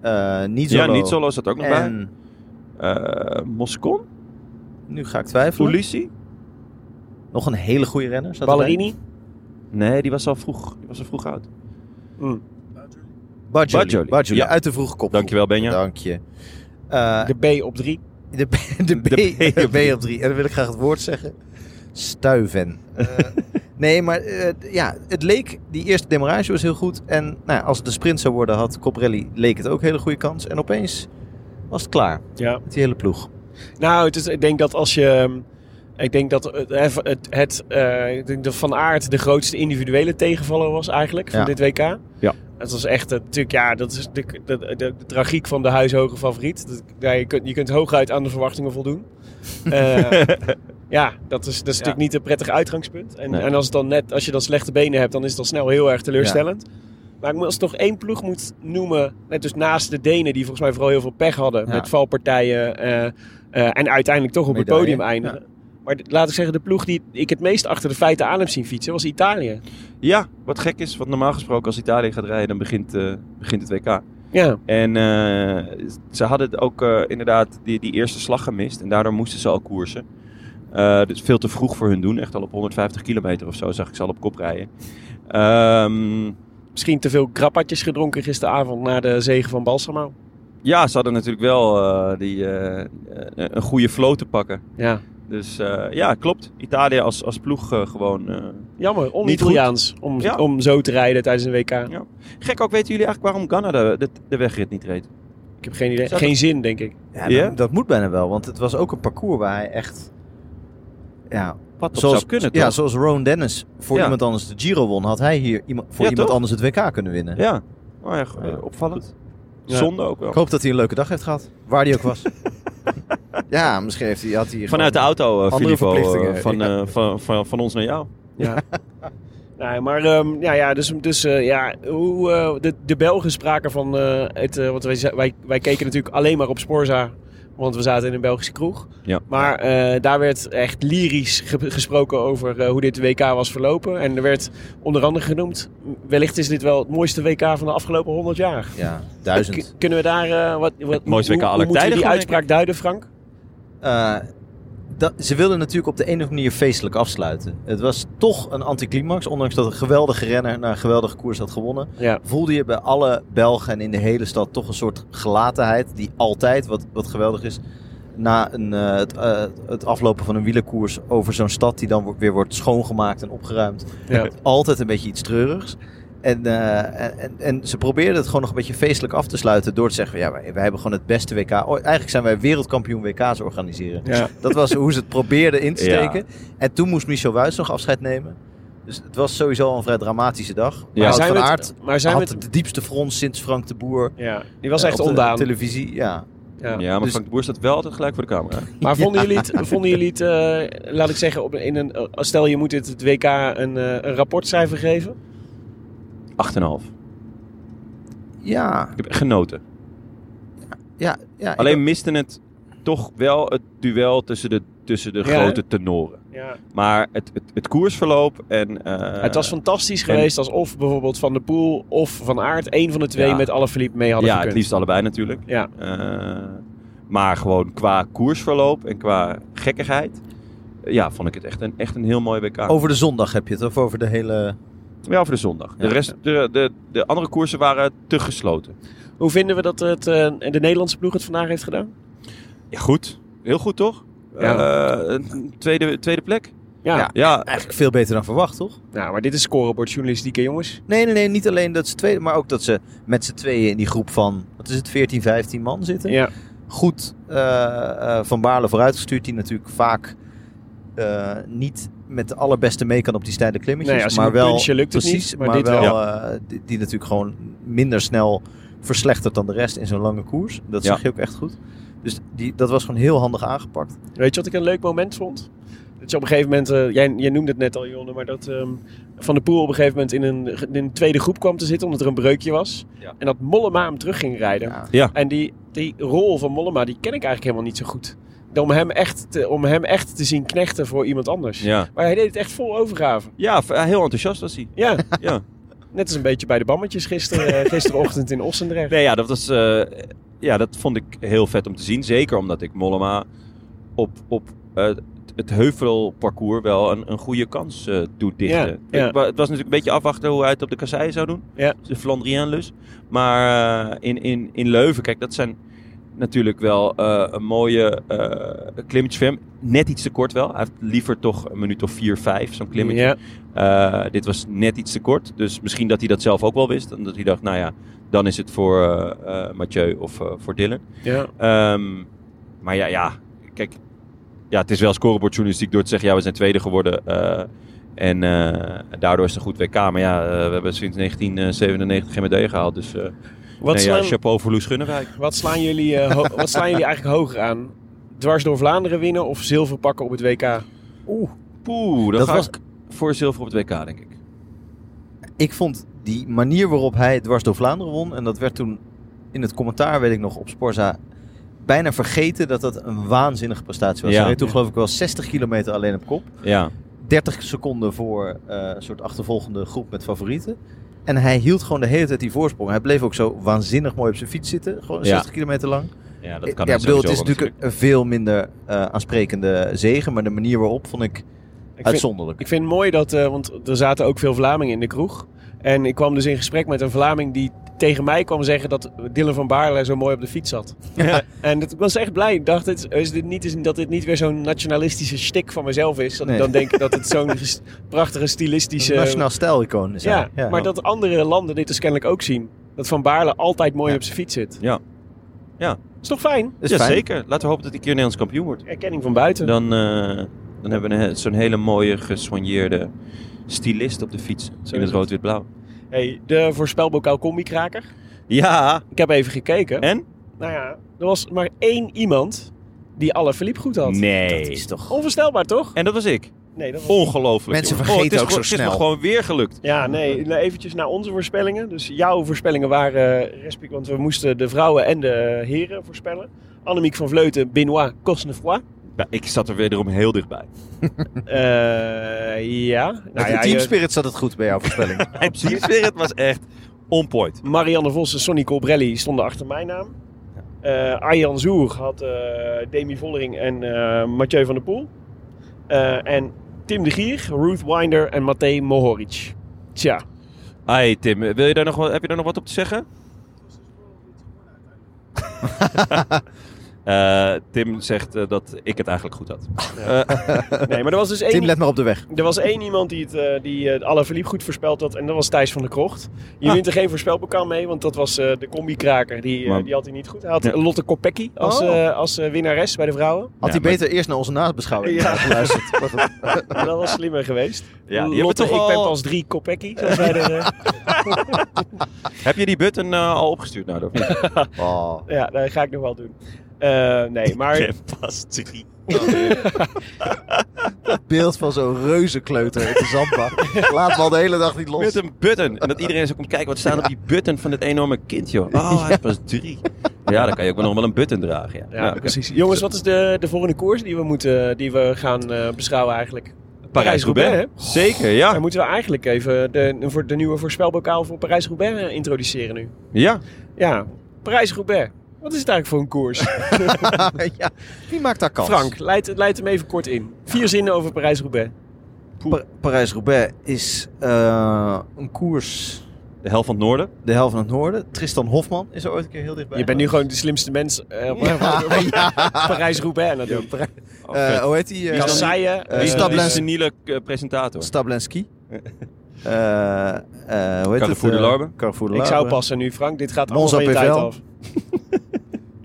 D: Eh niet
A: Ja, Nizzolo zat ook nog bij.
D: En
A: Eh Moscon?
D: nu ga ik twijfelen.
A: Ulissi?
D: Nog een hele goede renner. Zat erbij.
B: Ballerini.
A: Nee, die was al vroeg, die was al vroeg oud.
D: Bargioli.
A: Bargioli.
D: Bargioli,
A: Ja.
D: uit de vroege kop.
A: Dankjewel, Benja.
D: Dank je. Eh,
B: De B op drie.
D: de, B, de, B,
A: De B op
D: de B op drie. En dan wil ik graag het woord zeggen. Stuiven. Eh, nee, maar eh, ja, het leek... Die eerste demarrage was heel goed. En nou, ja, als het een sprint zou worden, had Coprelli... leek het ook een hele goede kans. En opeens was het klaar.
B: Ja.
D: Met die hele ploeg.
B: Nou, het is, ik denk dat als je... ehm, Ik denk dat het, het, het, eh, ik denk dat Van Aert de grootste individuele tegenvaller was eigenlijk van
D: Ja.
B: dit WK.
A: Ja.
B: Het was echt, eh, natuurlijk, ja, dat is de, de, de, de tragiek van de huishoge favoriet. Dat, ja, je, kunt, je kunt hooguit aan de verwachtingen voldoen. Eh, ja, dat is, dat is natuurlijk niet een prettig uitgangspunt. En,
A: Nee.
B: en als, het dan net, als je dan slechte benen hebt, dan is dat snel heel erg teleurstellend. Maar ik moet- als ik nog één ploeg moet noemen, net dus naast de Denen, die volgens mij vooral heel veel pech hadden
D: Ja.
B: met valpartijen eh, eh, en uiteindelijk toch op het
D: Medaille,
B: podium eindigen. Maar d- laat ik zeggen, de ploeg die ik het meest achter de feiten aan heb zien fietsen, was Italië.
A: Ja, wat gek is, want normaal gesproken als Italië gaat rijden, dan begint, eh, begint het WK.
B: Ja,
A: En eh, ze hadden het ook eh, inderdaad die, die eerste slag gemist. En daardoor moesten ze al koersen. Eh, dus veel te vroeg voor hun doen. Echt al op 150 kilometer of zo zag ik ze al op kop rijden. Ehm,
B: misschien te veel grappatjes gedronken gisteravond na de zege van Balsamo.
A: ja, ze hadden natuurlijk wel eh, die, eh, eh, een goede flow te pakken.
B: Ja,
A: Dus eh, ja, klopt. Italië als, als ploeg eh, gewoon... eh,
B: Jammer,
A: Niet goed.
B: on-Italiaans om,
A: Ja.
B: om zo te rijden tijdens een WK.
A: Gek ook, weten jullie eigenlijk waarom Ghana de, de, de wegrit niet reed?
B: Ik heb geen idee.
A: Zou
B: Geen zin, denk ik.
D: Ja,
A: Ja?
D: Dat, dat moet bijna wel, want het was ook een parcours waar hij echt... Ja,
A: Wat dat
D: zoals,
A: zou kunnen,
D: ja,
A: toch?
D: zoals Rowan Dennis voor
A: Ja.
D: iemand anders de Giro won, had hij hier iemand, voor
A: Ja,
D: iemand
A: toch?
D: anders het WK kunnen winnen.
A: Ja, Nou ja, ge-
D: Ja.
A: opvallend.
B: Ja.
A: Zonde ook wel.
D: Ik hoop dat hij een leuke dag heeft gehad, waar hij ook was. ja, misschien heeft hij, had hij... gewoon-
A: Vanuit de auto, eh
D: Andere
A: Filippo, eh,
D: verplichtingen.
A: van,
D: Ja.
A: eh, van, van, van ons naar jou.
B: Ja. nee, maar ehm, ja, ja, dus, dus eh, ja, hoe, eh, de, de Belgen spraken van eh, het, eh, want wij, za- wij, wij keken natuurlijk alleen maar op Sporza, want we zaten in een Belgische kroeg.
A: Ja.
B: Maar eh, daar werd echt lyrisch ge- gesproken over eh, hoe dit WK was verlopen. En er werd onder andere genoemd, wellicht is dit wel het mooiste WK van de afgelopen 100 jaar.
D: Ja, duizend.
B: K- kunnen we daar eh, wat, wat hoe-
A: mooiste WK
B: hoe,
A: aller
B: hoe moeten we
A: tijden
B: die
A: gewoon,
B: uitspraak duiden, Frank?
D: Eh, dat, ze wilden natuurlijk op de een of andere manier feestelijk afsluiten. Het was toch een anticlimax, ondanks dat een geweldige renner na een geweldige koers had gewonnen.
B: Ja.
D: Voelde je bij alle Belgen en in de hele stad toch een soort gelatenheid die altijd, wat, wat geweldig is, na een, eh, het, eh, het aflopen van een wielerkoers over zo'n stad die dan wo- weer wordt schoongemaakt en opgeruimd.
B: Ja.
D: Altijd een beetje iets treurigs. En, eh, en, en- en ze probeerden het gewoon nog een beetje feestelijk af te sluiten door te zeggen: ja, wij, wij hebben gewoon het beste WK. ooit. Eigenlijk zijn wij wereldkampioen WK's organiseren.
B: Ja.
D: Dat was hoe ze het probeerden in te
A: Ja.
D: steken. En toen moest Michel Wuits nog afscheid nemen. Dus het was sowieso al een vrij dramatische dag. Maar
A: Ja.
D: Wout
B: zijn
D: van
B: we het-
D: Aert
B: maar zijn we
D: had
B: het-
D: de diepste frons sinds Frank de Boer.
B: Ja, die was
D: eh,
B: echt
D: op de
B: ondaan.
D: televisie, ja.
B: Ja.
A: Ja, maar
D: Dus-
A: Frank de Boer staat wel altijd gelijk voor de camera.
B: Maar vonden jullie het, vonden jullie het eh, laat ik zeggen, op, in een, eh, stel je moet dit het WK een, eh, een rapportcijfer geven?
A: 8,5.
D: Ja,
A: Ik heb echt genoten.
D: ja, ja. ik-
A: Alleen miste het toch wel het duel tussen de, tussen de
B: Ja, hè?
A: grote tenoren.
B: Ja.
A: Maar het, het, het koersverloop en... eh,
B: het was fantastisch geweest als of bijvoorbeeld Van der Poel of Van Aert, één van de twee
A: Ja.
B: met alle Philippe mee hadden
A: Ja, het
B: gekund.
A: liefst allebei natuurlijk.
B: Ja.
A: Eh, maar gewoon qua koersverloop en qua gekkigheid... eh, Ja, vond ik het echt een, echt een heel mooi WK.
B: Oh.
D: Over de zondag heb je het, of over de hele...
A: Ja, voor de zondag. De,
D: Ja.
A: rest, de, de, de andere koersen waren te gesloten.
B: Hoe vinden we dat het, eh, de Nederlandse ploeg het vandaag heeft gedaan?
A: Ja, goed. Heel goed, toch?
B: Ja.
A: Eh, een tweede, tweede plek.
B: Ja,
D: Ja.
A: Ja,
D: Eigenlijk veel beter dan verwacht, toch?
B: Nou, maar dit is scorebordjournalistiek, hè, jongens.
D: Nee, nee, nee. Niet alleen dat ze tweede, maar ook dat ze met z'n tweeën in die groep van, wat is het, 14, 15 man zitten.
B: Ja,
D: goed eh, eh, Van Baarle vooruitgestuurd. Die natuurlijk vaak eh, niet met de allerbeste mee kan op die steile klimmetjes.
B: Nee, als je
D: maar
B: moet
D: wel
B: punchen lukt het
D: precies,
B: niet, maar
D: maar,
B: dit
D: wel,
B: wel.
D: eh, die, die natuurlijk gewoon minder snel verslechtert dan de rest in zo'n lange koers. Dat
A: Ja.
D: zag je ook echt goed. Dus die, dat was gewoon heel handig aangepakt.
B: Weet je wat ik een leuk moment vond? Dat je op een gegeven moment, eh, jij, jij noemde het net al, Jonne, maar dat ehm, Van der Poel op een gegeven moment in een, in een tweede groep kwam te zitten omdat er een breukje was.
A: Ja.
B: En dat Mollema hem terug ging rijden.
D: Ja.
A: Ja.
B: En die, die rol van Mollema, die ken ik eigenlijk helemaal niet zo goed. Om hem echt te, om hem echt te zien knechten voor iemand anders.
A: ja.
B: Maar hij deed het echt vol overgave.
A: ja, v- eh, heel enthousiast was hij.
B: Ja,
A: Ja.
B: net als een beetje bij de bammetjes gisteren, eh, gisterochtend in Ossendrecht.
A: Nee, ja, dat was. eh, ja, dat vond ik heel vet om te zien. Zeker omdat ik Mollema op, op eh, het heuvelparcours wel een, een goede kans eh doet dichten.
B: Ja, ja.
A: Ik wa- het was natuurlijk een beetje afwachten hoe hij het op de kassei zou doen.
B: Ja.
A: De Flandriënlus. Maar eh, in, in, in Leuven, kijk, dat zijn natuurlijk wel eh, een mooie eh klimmetje voor hem. Net iets te kort wel. Hij heeft liever toch een minuut of vier, vijf, zo'n klimmetje.
B: Ja,
A: Eh, dit was net iets te kort. Dus misschien dat hij dat zelf ook wel wist. En dat hij dacht, nou ja, dan is het voor eh, eh, Mathieu of eh, voor Dylan.
B: ja.
A: Ehm, maar ja, ja, kijk. Ja, het is wel scorebordjournalistiek door te zeggen, ja, we zijn tweede geworden. eh, en eh, daardoor is het een goed WK. Maar ja, eh, we hebben sinds 1997 geen medaille gehaald. Dus eh
B: Wat, nou
A: nee, ja,
B: slaan,
A: chapeau voor Loes Gunnewijk.
B: wat, slaan jullie, eh, ho- wat slaan jullie eigenlijk hoger aan? Dwars door Vlaanderen winnen of zilver pakken op het WK?
A: Poeh, dat,
D: Dat
A: ga
D: was-
A: ik voor zilver op het WK, denk ik.
D: Ik vond die manier waarop hij dwars door Vlaanderen won... en dat werd toen in het commentaar, weet ik nog, op Sporza... bijna vergeten dat dat een waanzinnige prestatie was.
A: Ja.
D: Hij reed toen geloof ik wel 60 kilometer alleen op kop.
A: Ja,
D: 30 seconden voor eh, een soort achtervolgende groep met favorieten. En hij hield gewoon de hele tijd die voorsprong. Hij bleef ook zo waanzinnig mooi op zijn fiets zitten. Gewoon
A: Ja.
D: 60 kilometer lang.
A: ja dat
D: Ik
A: kan
D: ja,
A: hij
D: ik bedoel, het is
A: sowieso wel
D: natuurlijk een veel minder eh, aansprekende zegen. Maar de manier waarop vond ik,
B: Ik vind-
D: uitzonderlijk.
B: Ik vind het mooi dat, eh, want er zaten ook veel Vlamingen in de kroeg. En ik kwam dus in gesprek met een Vlaming die tegen mij kwam zeggen dat Dylan van Baarle zo mooi op de fiets zat. Eh, en dat, ik was echt blij. Ik dacht, het is, is dit niet, is, dat dit niet weer zo'n nationalistische shtick van mezelf is. Dat
D: Nee.
B: ik dan denk dat het zo'n ges- prachtige stilistische...
D: Een nationaal stijlicoon is
B: eh, ja,
D: hij.
B: maar dat andere landen dit dus kennelijk ook zien. Dat Van Baarle altijd mooi op zijn fiets zit.
A: Ja. Ja.
B: Is toch fijn?
D: is
A: ja,
D: fijn.
A: zeker. Laten we hopen dat hij een keer Nederlands kampioen wordt.
B: Erkenning van buiten.
A: Dan, eh, dan hebben we een he- zo'n hele mooie gesoigneerde stylist op de fiets. in
B: is
A: het
B: het.
A: rood-wit-blauw.
B: Hey, de voorspelbokaal combi-kraker.
A: Ja,
B: Ik heb even gekeken.
A: en?
B: Nou ja, er was maar één iemand die alle verliep goed had.
A: Nee.
B: Onvoorstelbaar, toch?
A: En dat was ik.
B: Nee, dat was...
A: Ongelooflijk.
D: Mensen
A: jongen. Oh, het
D: vergeten
A: is
D: ook zo
A: gewoon- Het is
D: snel.
A: me gewoon weer gelukt.
B: Ja, nee, nou, eventjes naar onze voorspellingen. Dus jouw voorspellingen waren, eh, respect, want we moesten de vrouwen en de eh, heren voorspellen. Annemiek van Vleuten, Benoit, Cosnefroy.
A: Ja, ik zat er wederom heel dichtbij.
B: Eh ja. Nou
D: Met de
B: ja,
D: Team
B: je-
D: Spirit zat het goed bij jouw voorspelling.
A: Mijn het was echt on point.
B: Marianne Vos en Sonny Colbrelli stonden achter mijn naam. Eh Arjan Zoer had eh, Demi Vollering en eh, Mathieu van der Poel. Eh, en Tim de Gier, Ruth Winder en Matej Mohoric. Tja,
A: Hey Tim, wil je daar nog wat, heb je daar nog wat op te zeggen? Eh, Tim zegt eh, dat ik het eigenlijk goed had.
B: nee, maar er was dus één,
D: Tim, let maar op de weg.
B: er was één iemand die, het, eh die eh, alle verliep goed voorspeld had. En dat was Thijs van der Krocht. Je
D: Ah.
B: wint er geen voorspelbokaal mee, want dat was eh, de combi-kraker. Die, eh,
A: Maar-
B: die had hij niet goed. Hij had
A: Ja.
B: Lotte Kopecky als,
D: Oh.
B: eh, als eh, winnares bij de vrouwen.
D: Had
A: Ja,
D: hij beter eerst naar onze naastbeschouwing
B: Ja.
D: geluisterd. Maar goed.
B: Dat was slimmer geweest.
A: Ja, die
B: Lotte,
A: hebben toch
B: ik ben
A: al-
B: pas drie Kopecky, zoals wij er... eh,
A: Heb je die button eh, al opgestuurd nou? Of niet?
D: Oh.
B: Ja, dat ga ik nog wel doen. Eh, nee, maar
A: pas drie.
D: Beeld van zo'n reuzenkleuter in de zandbak. Laat me al de hele dag niet los.
A: Met een button. En dat iedereen zo komt kijken wat staat op die button van dit enorme kind, joh. Oh, hij is pas drie. Ja, dan kan je ook wel nog wel een button dragen. Ja,
B: ja,
A: Ja, oké.
B: precies. jongens, wat is de, de volgende koers die we, moeten, die we gaan eh, beschouwen eigenlijk?
A: Parijs-Roubaix.
B: Parijs-Roubaix,
A: Zeker,
B: Dan
A: ja.
B: moeten we eigenlijk even de, voor de nieuwe voorspelbokaal voor Parijs-Roubaix eh, introduceren nu.
A: Ja,
B: Ja, Parijs-Roubaix. Wat is het eigenlijk voor een koers?
D: ja. Wie maakt daar kans?
B: Frank, leid, leid hem even kort in. Vier zinnen over Parijs-Roubaix.
D: Pa- Parijs-Roubaix is eh, een koers
A: de hel van het noorden.
D: de helft van het noorden. Tristan Hofman is er ooit een keer heel dichtbij.
B: Je bent nu gewoon de slimste mens eh, op Parijs-Roubaix aan het doen. Oh,
D: Eh, hoe heet die? eh,
A: Wie is dan-
B: Kasseien,
A: Wie is
B: eh,
D: Eh,
A: dat? Die
D: Stablens-
A: seniele eh, presentator.
D: Stablensky. Eh, eh, hoe
A: Carrefour
D: heet
A: de
D: het? Eh,
A: Larbe.
D: Carrefour de
B: Ik zou
D: Larbe.
B: passen nu, Frank. Dit gaat allemaal
D: Monza
B: van je tijd
D: PVL.
B: af.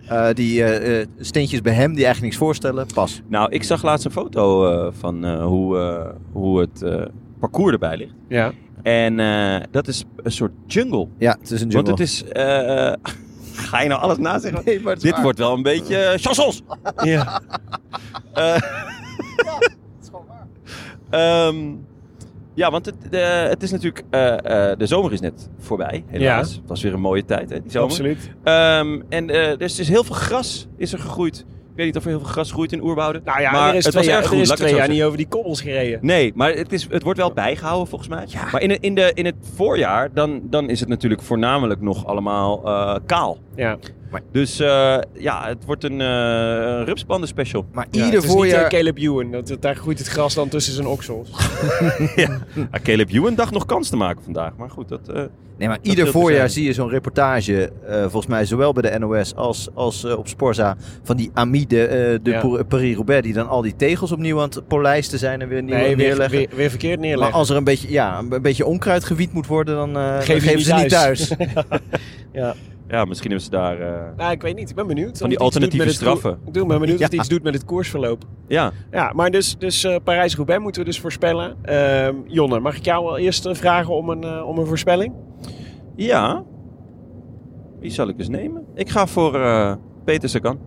D: Eh, die eh, eh, steentjes bij hem die eigenlijk niks voorstellen. Pas.
A: Nou, ik zag laatst een foto eh, van eh, hoe, eh, hoe het eh, parcours erbij ligt.
B: Ja.
A: En eh, dat is een soort jungle.
D: Ja, het is een
A: Want
D: jungle.
A: het is... eh, ga je nou alles nazeggen?
D: Nee, maar het is
A: Dit
D: waar.
A: wordt wel een beetje eh, chansons.
B: ja.
A: Ehm, ja, want het, de- het is natuurlijk... eh, eh, de zomer is net voorbij, helaas. Het was weer een mooie tijd, hè, die zomer.
B: Absoluut.
A: Ehm, en eh, dus er is heel veel gras is er gegroeid. Ik weet niet of er heel veel gras groeit in Oerwouden.
B: Nou ja,
A: maar
B: er is
A: het
B: twee,
A: was
B: jaar,
A: erg
B: er
A: goed,
B: is
A: laat ik het
B: twee
A: zo zeggen.
B: jaar niet over die kobbels gereden.
A: Nee, maar het, is, het wordt wel bijgehouden volgens mij. Maar in, de- in, de, in het voorjaar, dan, dan is het natuurlijk voornamelijk nog allemaal eh, kaal.
B: Ja.
A: Dus eh, ja, het wordt een eh rupsbanden special.
D: Maar
B: Ja,
D: ieder
B: het is niet eh,
D: voorjaar...
B: Caleb Ewan. Dat, dat- daar groeit het gras dan tussen zijn oksels.
A: Ah, Caleb Ewan dacht nog kans te maken vandaag. Maar goed, dat... eh,
D: Nee, maar
A: wil
D: ieder
A: te
D: voorjaar
A: zijn.
D: zie je zo'n reportage, eh, volgens mij zowel bij de NOS als, als eh, op Sporza, van die amide eh de
B: Ja.
D: Pou- Paris-Roubaix, die dan al die tegels opnieuw aan het polijsten zijn en weer nieuw
B: Nee, weer,
D: neerleggen.
B: weer, weer verkeerd
D: Maar
B: neerleggen.
D: als er een beetje, ja, een beetje onkruid gewiet moet worden, dan eh, dan
B: Geef
D: geven
B: je niet
D: ze niet
B: thuis.
D: thuis.
A: ja, misschien hebben ze daar... eh,
B: nou, ik weet niet. Ik ben benieuwd.
A: Van die
B: of het iets doet
A: alternatieve
B: met het koer-
A: straffen.
B: Ik doe- ben benieuwd of het
D: Ja.
B: iets doet met het koersverloop.
A: ja,
B: Ja, maar dus, dus eh, Parijs-Roubaix moeten we dus voorspellen. Ehm, Jonne, mag ik jou wel eerst eh, vragen om een, eh, om een voorspelling?
A: ja. Wie zal ik dus nemen? Ik ga voor eh Peter Sagan.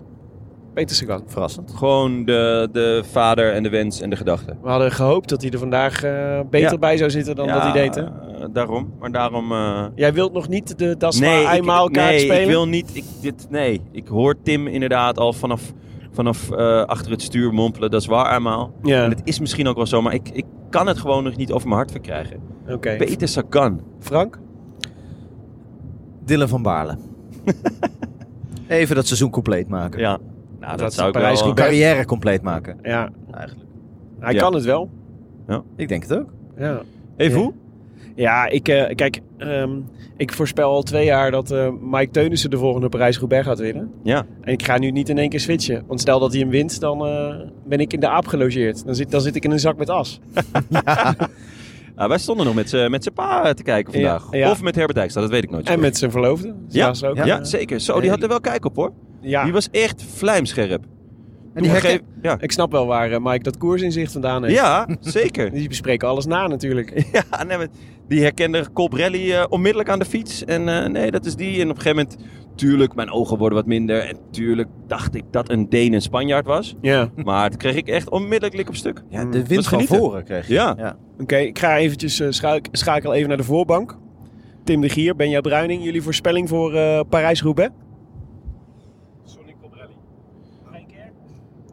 B: Peter Sagan.
D: Verrassend.
A: Gewoon de, de vader en de wens en de gedachte.
B: We hadden gehoopt dat hij er vandaag eh, beter
A: Ja.
B: bij zou zitten dan dat
A: Ja,
B: hij deed. Hè?
A: eh, daarom. Maar daarom... eh,
B: Jij wilt nog niet de Dasma
A: ik,
B: Eimaal kaart
A: nee,
B: spelen?
A: ik wil niet. Ik, dit, nee, ik hoor Tim inderdaad al vanaf, vanaf eh, achter het stuur mompelen. Dat is waar eenmaal.
B: Ja,
A: En het is misschien ook wel zo, maar ik, ik kan het gewoon nog niet over mijn hart verkrijgen.
B: oké.
A: Peter Sagan.
B: Frank?
D: Dylan van Baarle. Even dat seizoen compleet maken.
A: Ja. Nou, dat,
B: Dat
A: zou ik
B: Parijs
A: wel...
B: goed bij-
D: Carrière compleet maken,
B: Ja,
D: eigenlijk.
B: hij
A: Ja.
B: kan het wel.
D: Ik denk het ook.
B: Ja.
A: Even hoe?
B: Ja, ik, eh, kijk, ehm, ik voorspel al twee jaar dat eh, Mike Teunissen de volgende Parijs-Roubaix gaat winnen.
A: Ja.
B: En ik ga nu niet in één keer switchen. Want stel dat hij hem wint, dan eh, ben ik in de aap gelogeerd. Dan zit, dan zit ik in een zak met as.
A: Ah, wij stonden nog met z'n met z'n pa eh, te kijken vandaag.
B: Ja, ja.
A: Of met Herbert Dijkstra, dat weet ik nooit. zo
B: En
A: goed.
B: met zijn verloofde.
A: ja,
B: Ze ook,
A: ja,
B: eh,
A: zeker. Zo, die had er wel kijk op hoor.
B: ja.
A: Die was echt vlijmscherp.
D: En die herken-
A: Toegegeven- ja.
B: Ik snap wel waar eh, Mike dat koersinzicht vandaan heeft.
A: ja, zeker.
B: Die bespreken alles na natuurlijk.
A: Ja, nee, maar die herkende Colbrelli eh, onmiddellijk aan de fiets. En eh, nee, dat is die. En op een gegeven moment, tuurlijk, mijn ogen worden wat minder. En tuurlijk dacht ik dat een Deen een Spanjaard was.
B: Ja.
A: Maar dat kreeg ik echt onmiddellijk lik op stuk.
D: Ja, de
A: was
D: wind van
A: genieten.
D: voren kreeg je.
A: Ja.
B: Oké, ik ga eventjes eh, schuik- schakel even naar de voorbank. Tim de Gier, Benja Bruining, jullie voorspelling voor eh, Parijs-Roubaix?
F: Sonny Cobrelli.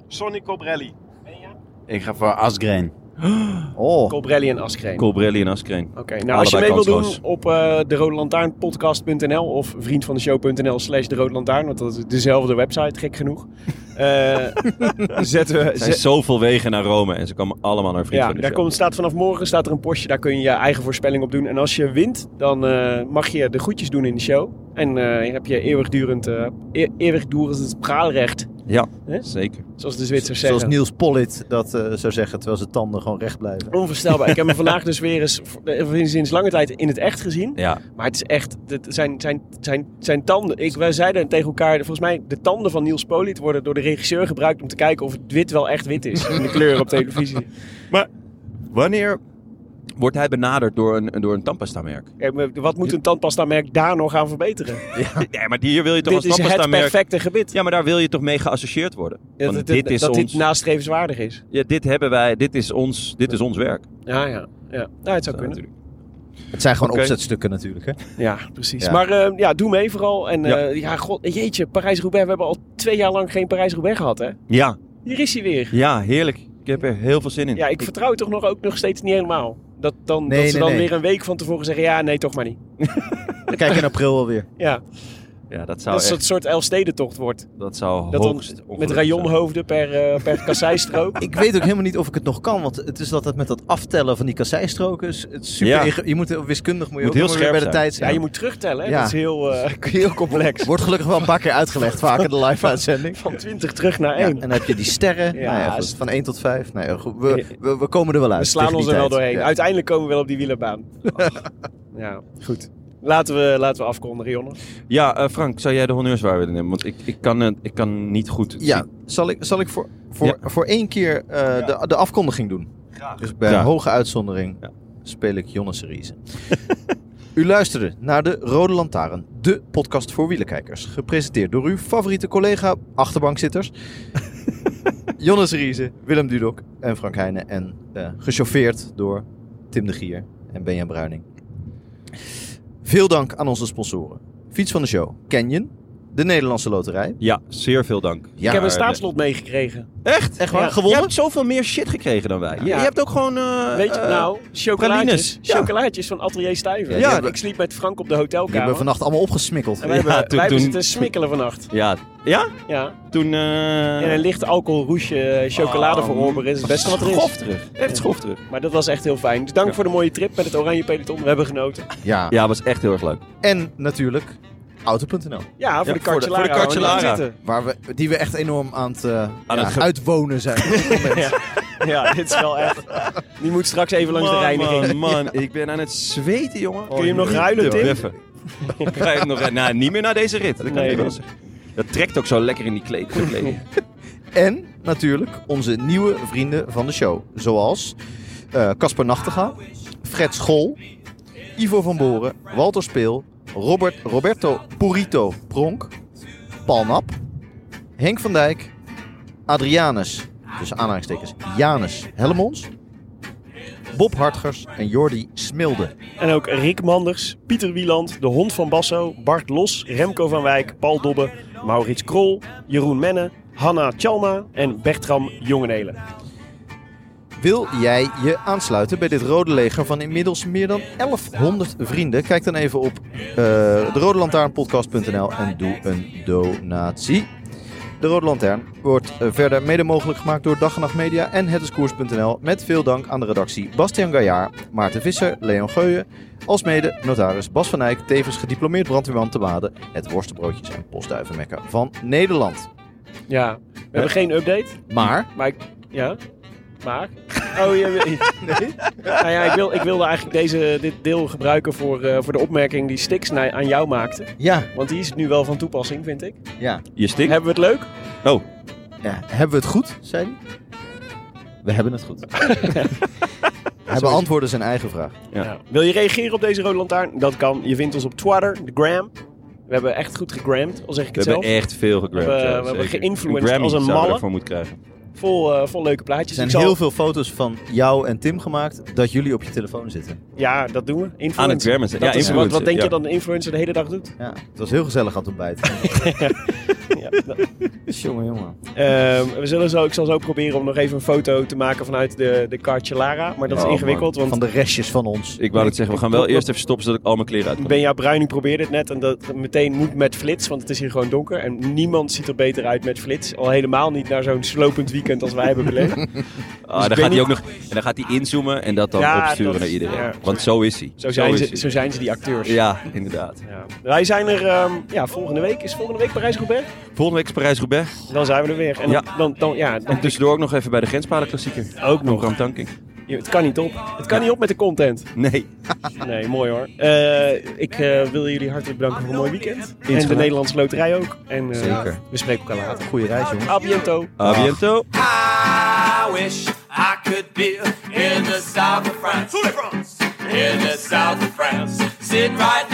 F: Sonny Cobrelli.
D: Ik ga voor Asgreen. Oh,
B: Colbrelli en Askreen.
A: Colbrelli en Askreen.
B: Oké, nou als je mee
A: Allebei
B: wilt doen
A: kansloos.
B: op eh de of vriendvandeshow.nl slash de Rode Lantaarn, want dat is dezelfde website, gek genoeg. Eh, zetten we,
A: Er
B: zet-
A: zijn zoveel wegen naar Rome en ze komen allemaal naar vrienden
B: ja,
A: van de
B: daar
A: show.
B: komt, staat vanaf morgen staat er een postje, daar kun je je eigen voorspelling op doen. En als je wint, dan eh, mag je de groetjes doen in de show. En eh, heb je eeuwigdurend, eh e- eeuwigdurend praalrecht,
A: Ja,
B: Hè?
A: zeker.
B: zoals de Zwitsers zeggen.
D: zoals Niels Pollitt dat eh, zou zeggen, terwijl zijn tanden gewoon recht blijven.
B: Onvoorstelbaar. Ik heb hem vandaag dus weer eens, eh, sinds lange tijd in het echt gezien.
A: Ja,
B: Maar het is echt, het zijn, zijn, zijn, zijn tanden. Ik, wij zeiden tegen elkaar, volgens mij, de tanden van Niels Poliet worden door de regisseur gebruikt om te kijken of het wit wel echt wit is. In de kleur op televisie.
A: wanneer wordt hij benaderd door een, door een tandpasta-merk?
B: Ja, maar wat moet een tandpasta-merk daar nog aan verbeteren?
A: Nee, maar hier wil je toch
B: dit
A: als
B: is het
A: tandpasta-merk...
B: perfecte gebit.
A: Ja, maar daar wil je toch mee geassocieerd worden?
B: dat
A: Want
B: dat-
A: dit is
B: dat
A: ons...
B: dit nastrevenswaardig is.
A: Ja, dit hebben wij, dit is ons, dit is ons werk.
B: Ja, ja. ja. Nou, het zou kunnen.
D: Het zijn gewoon
A: Oké.
D: opzetstukken natuurlijk. Hè?
B: Ja, precies.
D: Ja.
B: Maar eh, ja, doe mee vooral. En
A: Ja.
B: ja, ja god, jeetje, Parijs-Roubaix. We hebben al twee jaar lang geen Parijs-Roubaix gehad, hè?
A: Ja,
B: Hier is hij weer.
A: ja, heerlijk. Ik heb er heel veel zin in.
B: Ja, ik vertrouw het toch nog ook nog steeds niet helemaal. Dat, dan,
D: Nee,
B: dat ze
D: nee,
B: dan
D: nee.
B: weer een week van tevoren zeggen, ja, nee, toch maar niet.
D: Kijk in april alweer.
B: Ja,
A: ja dat zou
B: dat is
A: echt,
B: een soort Elfstedentocht wordt.
A: dat zou
B: Dat dan
A: hoogst
B: met
A: ongelukkig zijn.
B: rajonhoofden per, eh, per kasseistrook.
D: Ik weet ook helemaal niet of ik het nog kan, want het is altijd met dat aftellen van die kasseistroken. is Het super
A: Ja.
D: inge- je moet wiskundig moet je
A: Moet
D: ook
A: heel
D: nog weer bij
A: scherp
D: de
A: zijn.
D: tijd
B: Ja,
D: zijn.
B: je moet terugtellen. hè.
D: Ja.
B: Dat is heel, eh, heel complex.
D: Wordt gelukkig wel een paar keer uitgelegd vaak in de live uitzending.
B: Van 20 terug naar
D: Ja,
B: 1.
D: en dan heb je die sterren.
B: Ja,
D: nou ja,
B: is
D: goed,
B: het-
D: van 1 tot 5. Nou ja, goed, we, we, we komen er wel uit.
B: We slaan
D: tegen
B: ons
D: die
B: er wel
D: tijd.
B: doorheen.
D: Ja.
B: Uiteindelijk komen we wel op die wielenbaan. ja, goed. Laten we, laten we afkondigen, Jonne.
A: Ja, eh, Frank, zou jij de honneurswaar willen nemen? Want ik, ik, kan, eh, ik kan niet goed.
D: Ja, zal ik, zal ik voor, voor, voor één keer eh, de, de afkondiging doen? Dus bij
A: Graag.
D: hoge uitzondering
A: Ja.
D: speel ik Jonas Riese. u luisterde naar de Rode Lantaarn, de podcast voor wielenkijkers. Gepresenteerd door uw favoriete collega achterbankzitters. Jonas Riese, Willem Dudok en Frank Heijnen. En eh gechauffeerd door Tim de Gier en Benja Bruining. Veel dank aan onze sponsoren. Fiets van de show, Canyon, de Nederlandse Loterij.
A: Ja, zeer veel dank.
D: Ja,
B: Ik heb een
A: eh,
B: staatslot meegekregen.
A: Echt?
D: Echt waar?
B: Ja.
A: Je
D: Gewonnen?
A: hebt zoveel meer shit gekregen dan wij. Je hebt ook gewoon. eh,
B: Weet je,
A: eh,
B: nou, chocolaatjes,
A: pralines. Ja.
B: chocolaatjes van Atelier Stuyven.
D: Ja,
B: Ja,
D: die hebben-
B: ik sliep met Frank op de
D: Die hebben
B: hotelkamer.
D: we vannacht allemaal opgesmikkeld.
B: En wij hebben,
A: Ja,
B: wij
A: toen-
B: hebben
A: toen-
B: zitten smikkelen vannacht.
A: Ja, ja?
B: Ja.
A: toen.
B: En een
A: eh
B: licht alcoholroesje eh, chocolade
A: Oh,
B: voor Orber is het beste wat er
A: schof
B: is.
A: terug. Echt schof terug.
B: Maar dat was echt heel fijn. Dus dank
A: Ja.
B: voor de mooie trip met het Oranje Peloton. We hebben genoten.
D: Ja.
A: Ja, was echt heel erg leuk.
D: En natuurlijk auto.nl.
B: Ja, voor
A: Ja,
B: de
A: voor de-
B: Cartelara.
A: voor de Cartelara.
B: waar we net zitten.
D: Waar we, die we echt enorm aan het, eh, ja,
A: het ge-
D: uitwonen zijn.
B: Ja, dit is wel echt... Die moet straks even langs de reiniging.
A: Man, man, ik ben aan het zweten, jongen. Oh,
B: Kun je hem nog ruilen, Tim?
A: Even. Ga je hem nog Nou, niet meer naar deze rit. Dat kan
B: Nee,
A: ik wel
B: nee.
A: zeggen. Dat trekt ook zo lekker in die kleed. voor de kleding.
D: en natuurlijk onze nieuwe vrienden van de show. Zoals eh, Casper Nachtegaal, Fred Schol, Ivo van Boren, Walter Speel, Robert, Roberto Purito Pronk, Paul Nap, Henk van Dijk, Adrianus, dus aanhalingstekens, Janus Hellemons, Bob Hartgers en Jordi Smilde.
B: En ook Rick Manders, Pieter Wieland, de hond van Basso, Bart Los, Remco van Wijk, Paul Dobbe, Maurits Krol, Jeroen Menne, Hanna Chalma en Bertram Jongenelen.
D: Wil jij je aansluiten bij dit Rode Leger van inmiddels meer dan 1100 vrienden? Kijk dan even op eh derodelantaarnpodcast.nl en doe een donatie. De Rode Lantaarn wordt eh, verder mede mogelijk gemaakt door Dag en Nacht Media en hetdiscours.nl. Met veel dank aan de redactie Bastian Gaillard, Maarten Visser, Leon Geuyen. Als mede notaris Bas van Eyck, tevens gediplomeerd brandweerman te Waden. Het worstenbroodjes en postduivenmekker van Nederland.
B: Ja. We hebben geen update,
D: Maar,
B: maar ik... Ja? Maar? Oh, je, Nou ja, ik, wil, ik wilde eigenlijk deze, dit deel gebruiken voor, eh, voor de opmerking die Stix na- aan jou maakte.
D: ja,
B: Want die is nu wel van toepassing, vind ik.
D: ja,
A: Je stinkt.
B: Hebben we het leuk?
D: ja, eh, hebben we het goed, zei hij. We hebben het goed. Hij beantwoordde zijn eigen vraag.
A: Ja.
B: Ja. Wil je reageren op deze Rode Lantaarn? Dat kan. Je vindt ons op Twitter, de Gram. We hebben echt goed gegramd, al zeg ik
A: We
B: het zelf.
A: hebben echt veel gegramd.
B: We hebben-
A: ja,
B: we hebben
A: zeker.
B: geïnfluenced
A: Een Grammy
B: als een
A: zouden we
B: malle.
A: ervoor moeten krijgen.
B: Vol, eh, vol leuke plaatjes.
D: Er zijn
B: Ik zal-
D: heel veel foto's van jou en Tim gemaakt dat jullie op je telefoon zitten.
B: Ja, dat doen we. Influencer.
A: Aan het Grammy zetten.
B: Dat
A: Ja,
B: is wat, wat
A: influencer,
B: denk
A: ja.
B: je dat een influencer de hele dag doet?
D: Ja, het was heel gezellig aan het ontbijt.
B: Ja, dat-
D: jongen, jongen.
B: Ehm, we zullen zo, ik zal zo proberen om nog even een foto te maken vanuit de, de Carcellara. Maar dat
A: Oh,
B: is ingewikkeld, want
D: Van de restjes van ons.
A: Ik wou net zeggen, we gaan wel eerst even stoppen zodat ik al mijn kleren uit kan.
B: Benja Bruining probeerde het net en dat meteen moet met flits, want het is hier gewoon donker. En niemand ziet er beter uit met flits. Al helemaal niet naar zo'n slopend weekend als wij hebben beleefd.
A: Ah, dan
B: ben
A: gaat hij
B: niet-
A: ook nog en dan gaat hij inzoomen en dat dan
B: dus Ja,
A: opsturen
B: dat-
A: naar iedereen.
B: ja.
A: Want zo is hij.
B: Zo zijn,
A: is
B: ze,
A: hij.
B: zo zijn ze die acteurs.
A: Ja, inderdaad.
B: Ja. Wij zijn er ehm, ja, volgende week. Is volgende week Parijs-Roubaix?
A: Volgende week is Parijs-Roubaix.
B: Dan zijn we er weer. En
A: Ja.
B: dan, dan, dan- ja, dan-
A: En tussendoor ook nog even bij de Grenspaden klassieker.
B: ook nog.
A: Bram Tanking.
B: Je- Het kan niet op. Het kan niet op met de content.
A: Nee.
B: Nee, mooi hoor. Eh, ik eh, wil jullie hartelijk bedanken voor een mooi weekend. En de Nederlandse Loterij ook. En eh,
D: Zeker.
B: we spreken elkaar later.
D: Goeie reis, jongen.
B: A biento.
A: A biento.
C: I wish I could be in the south of France. In the south of France. Sitting right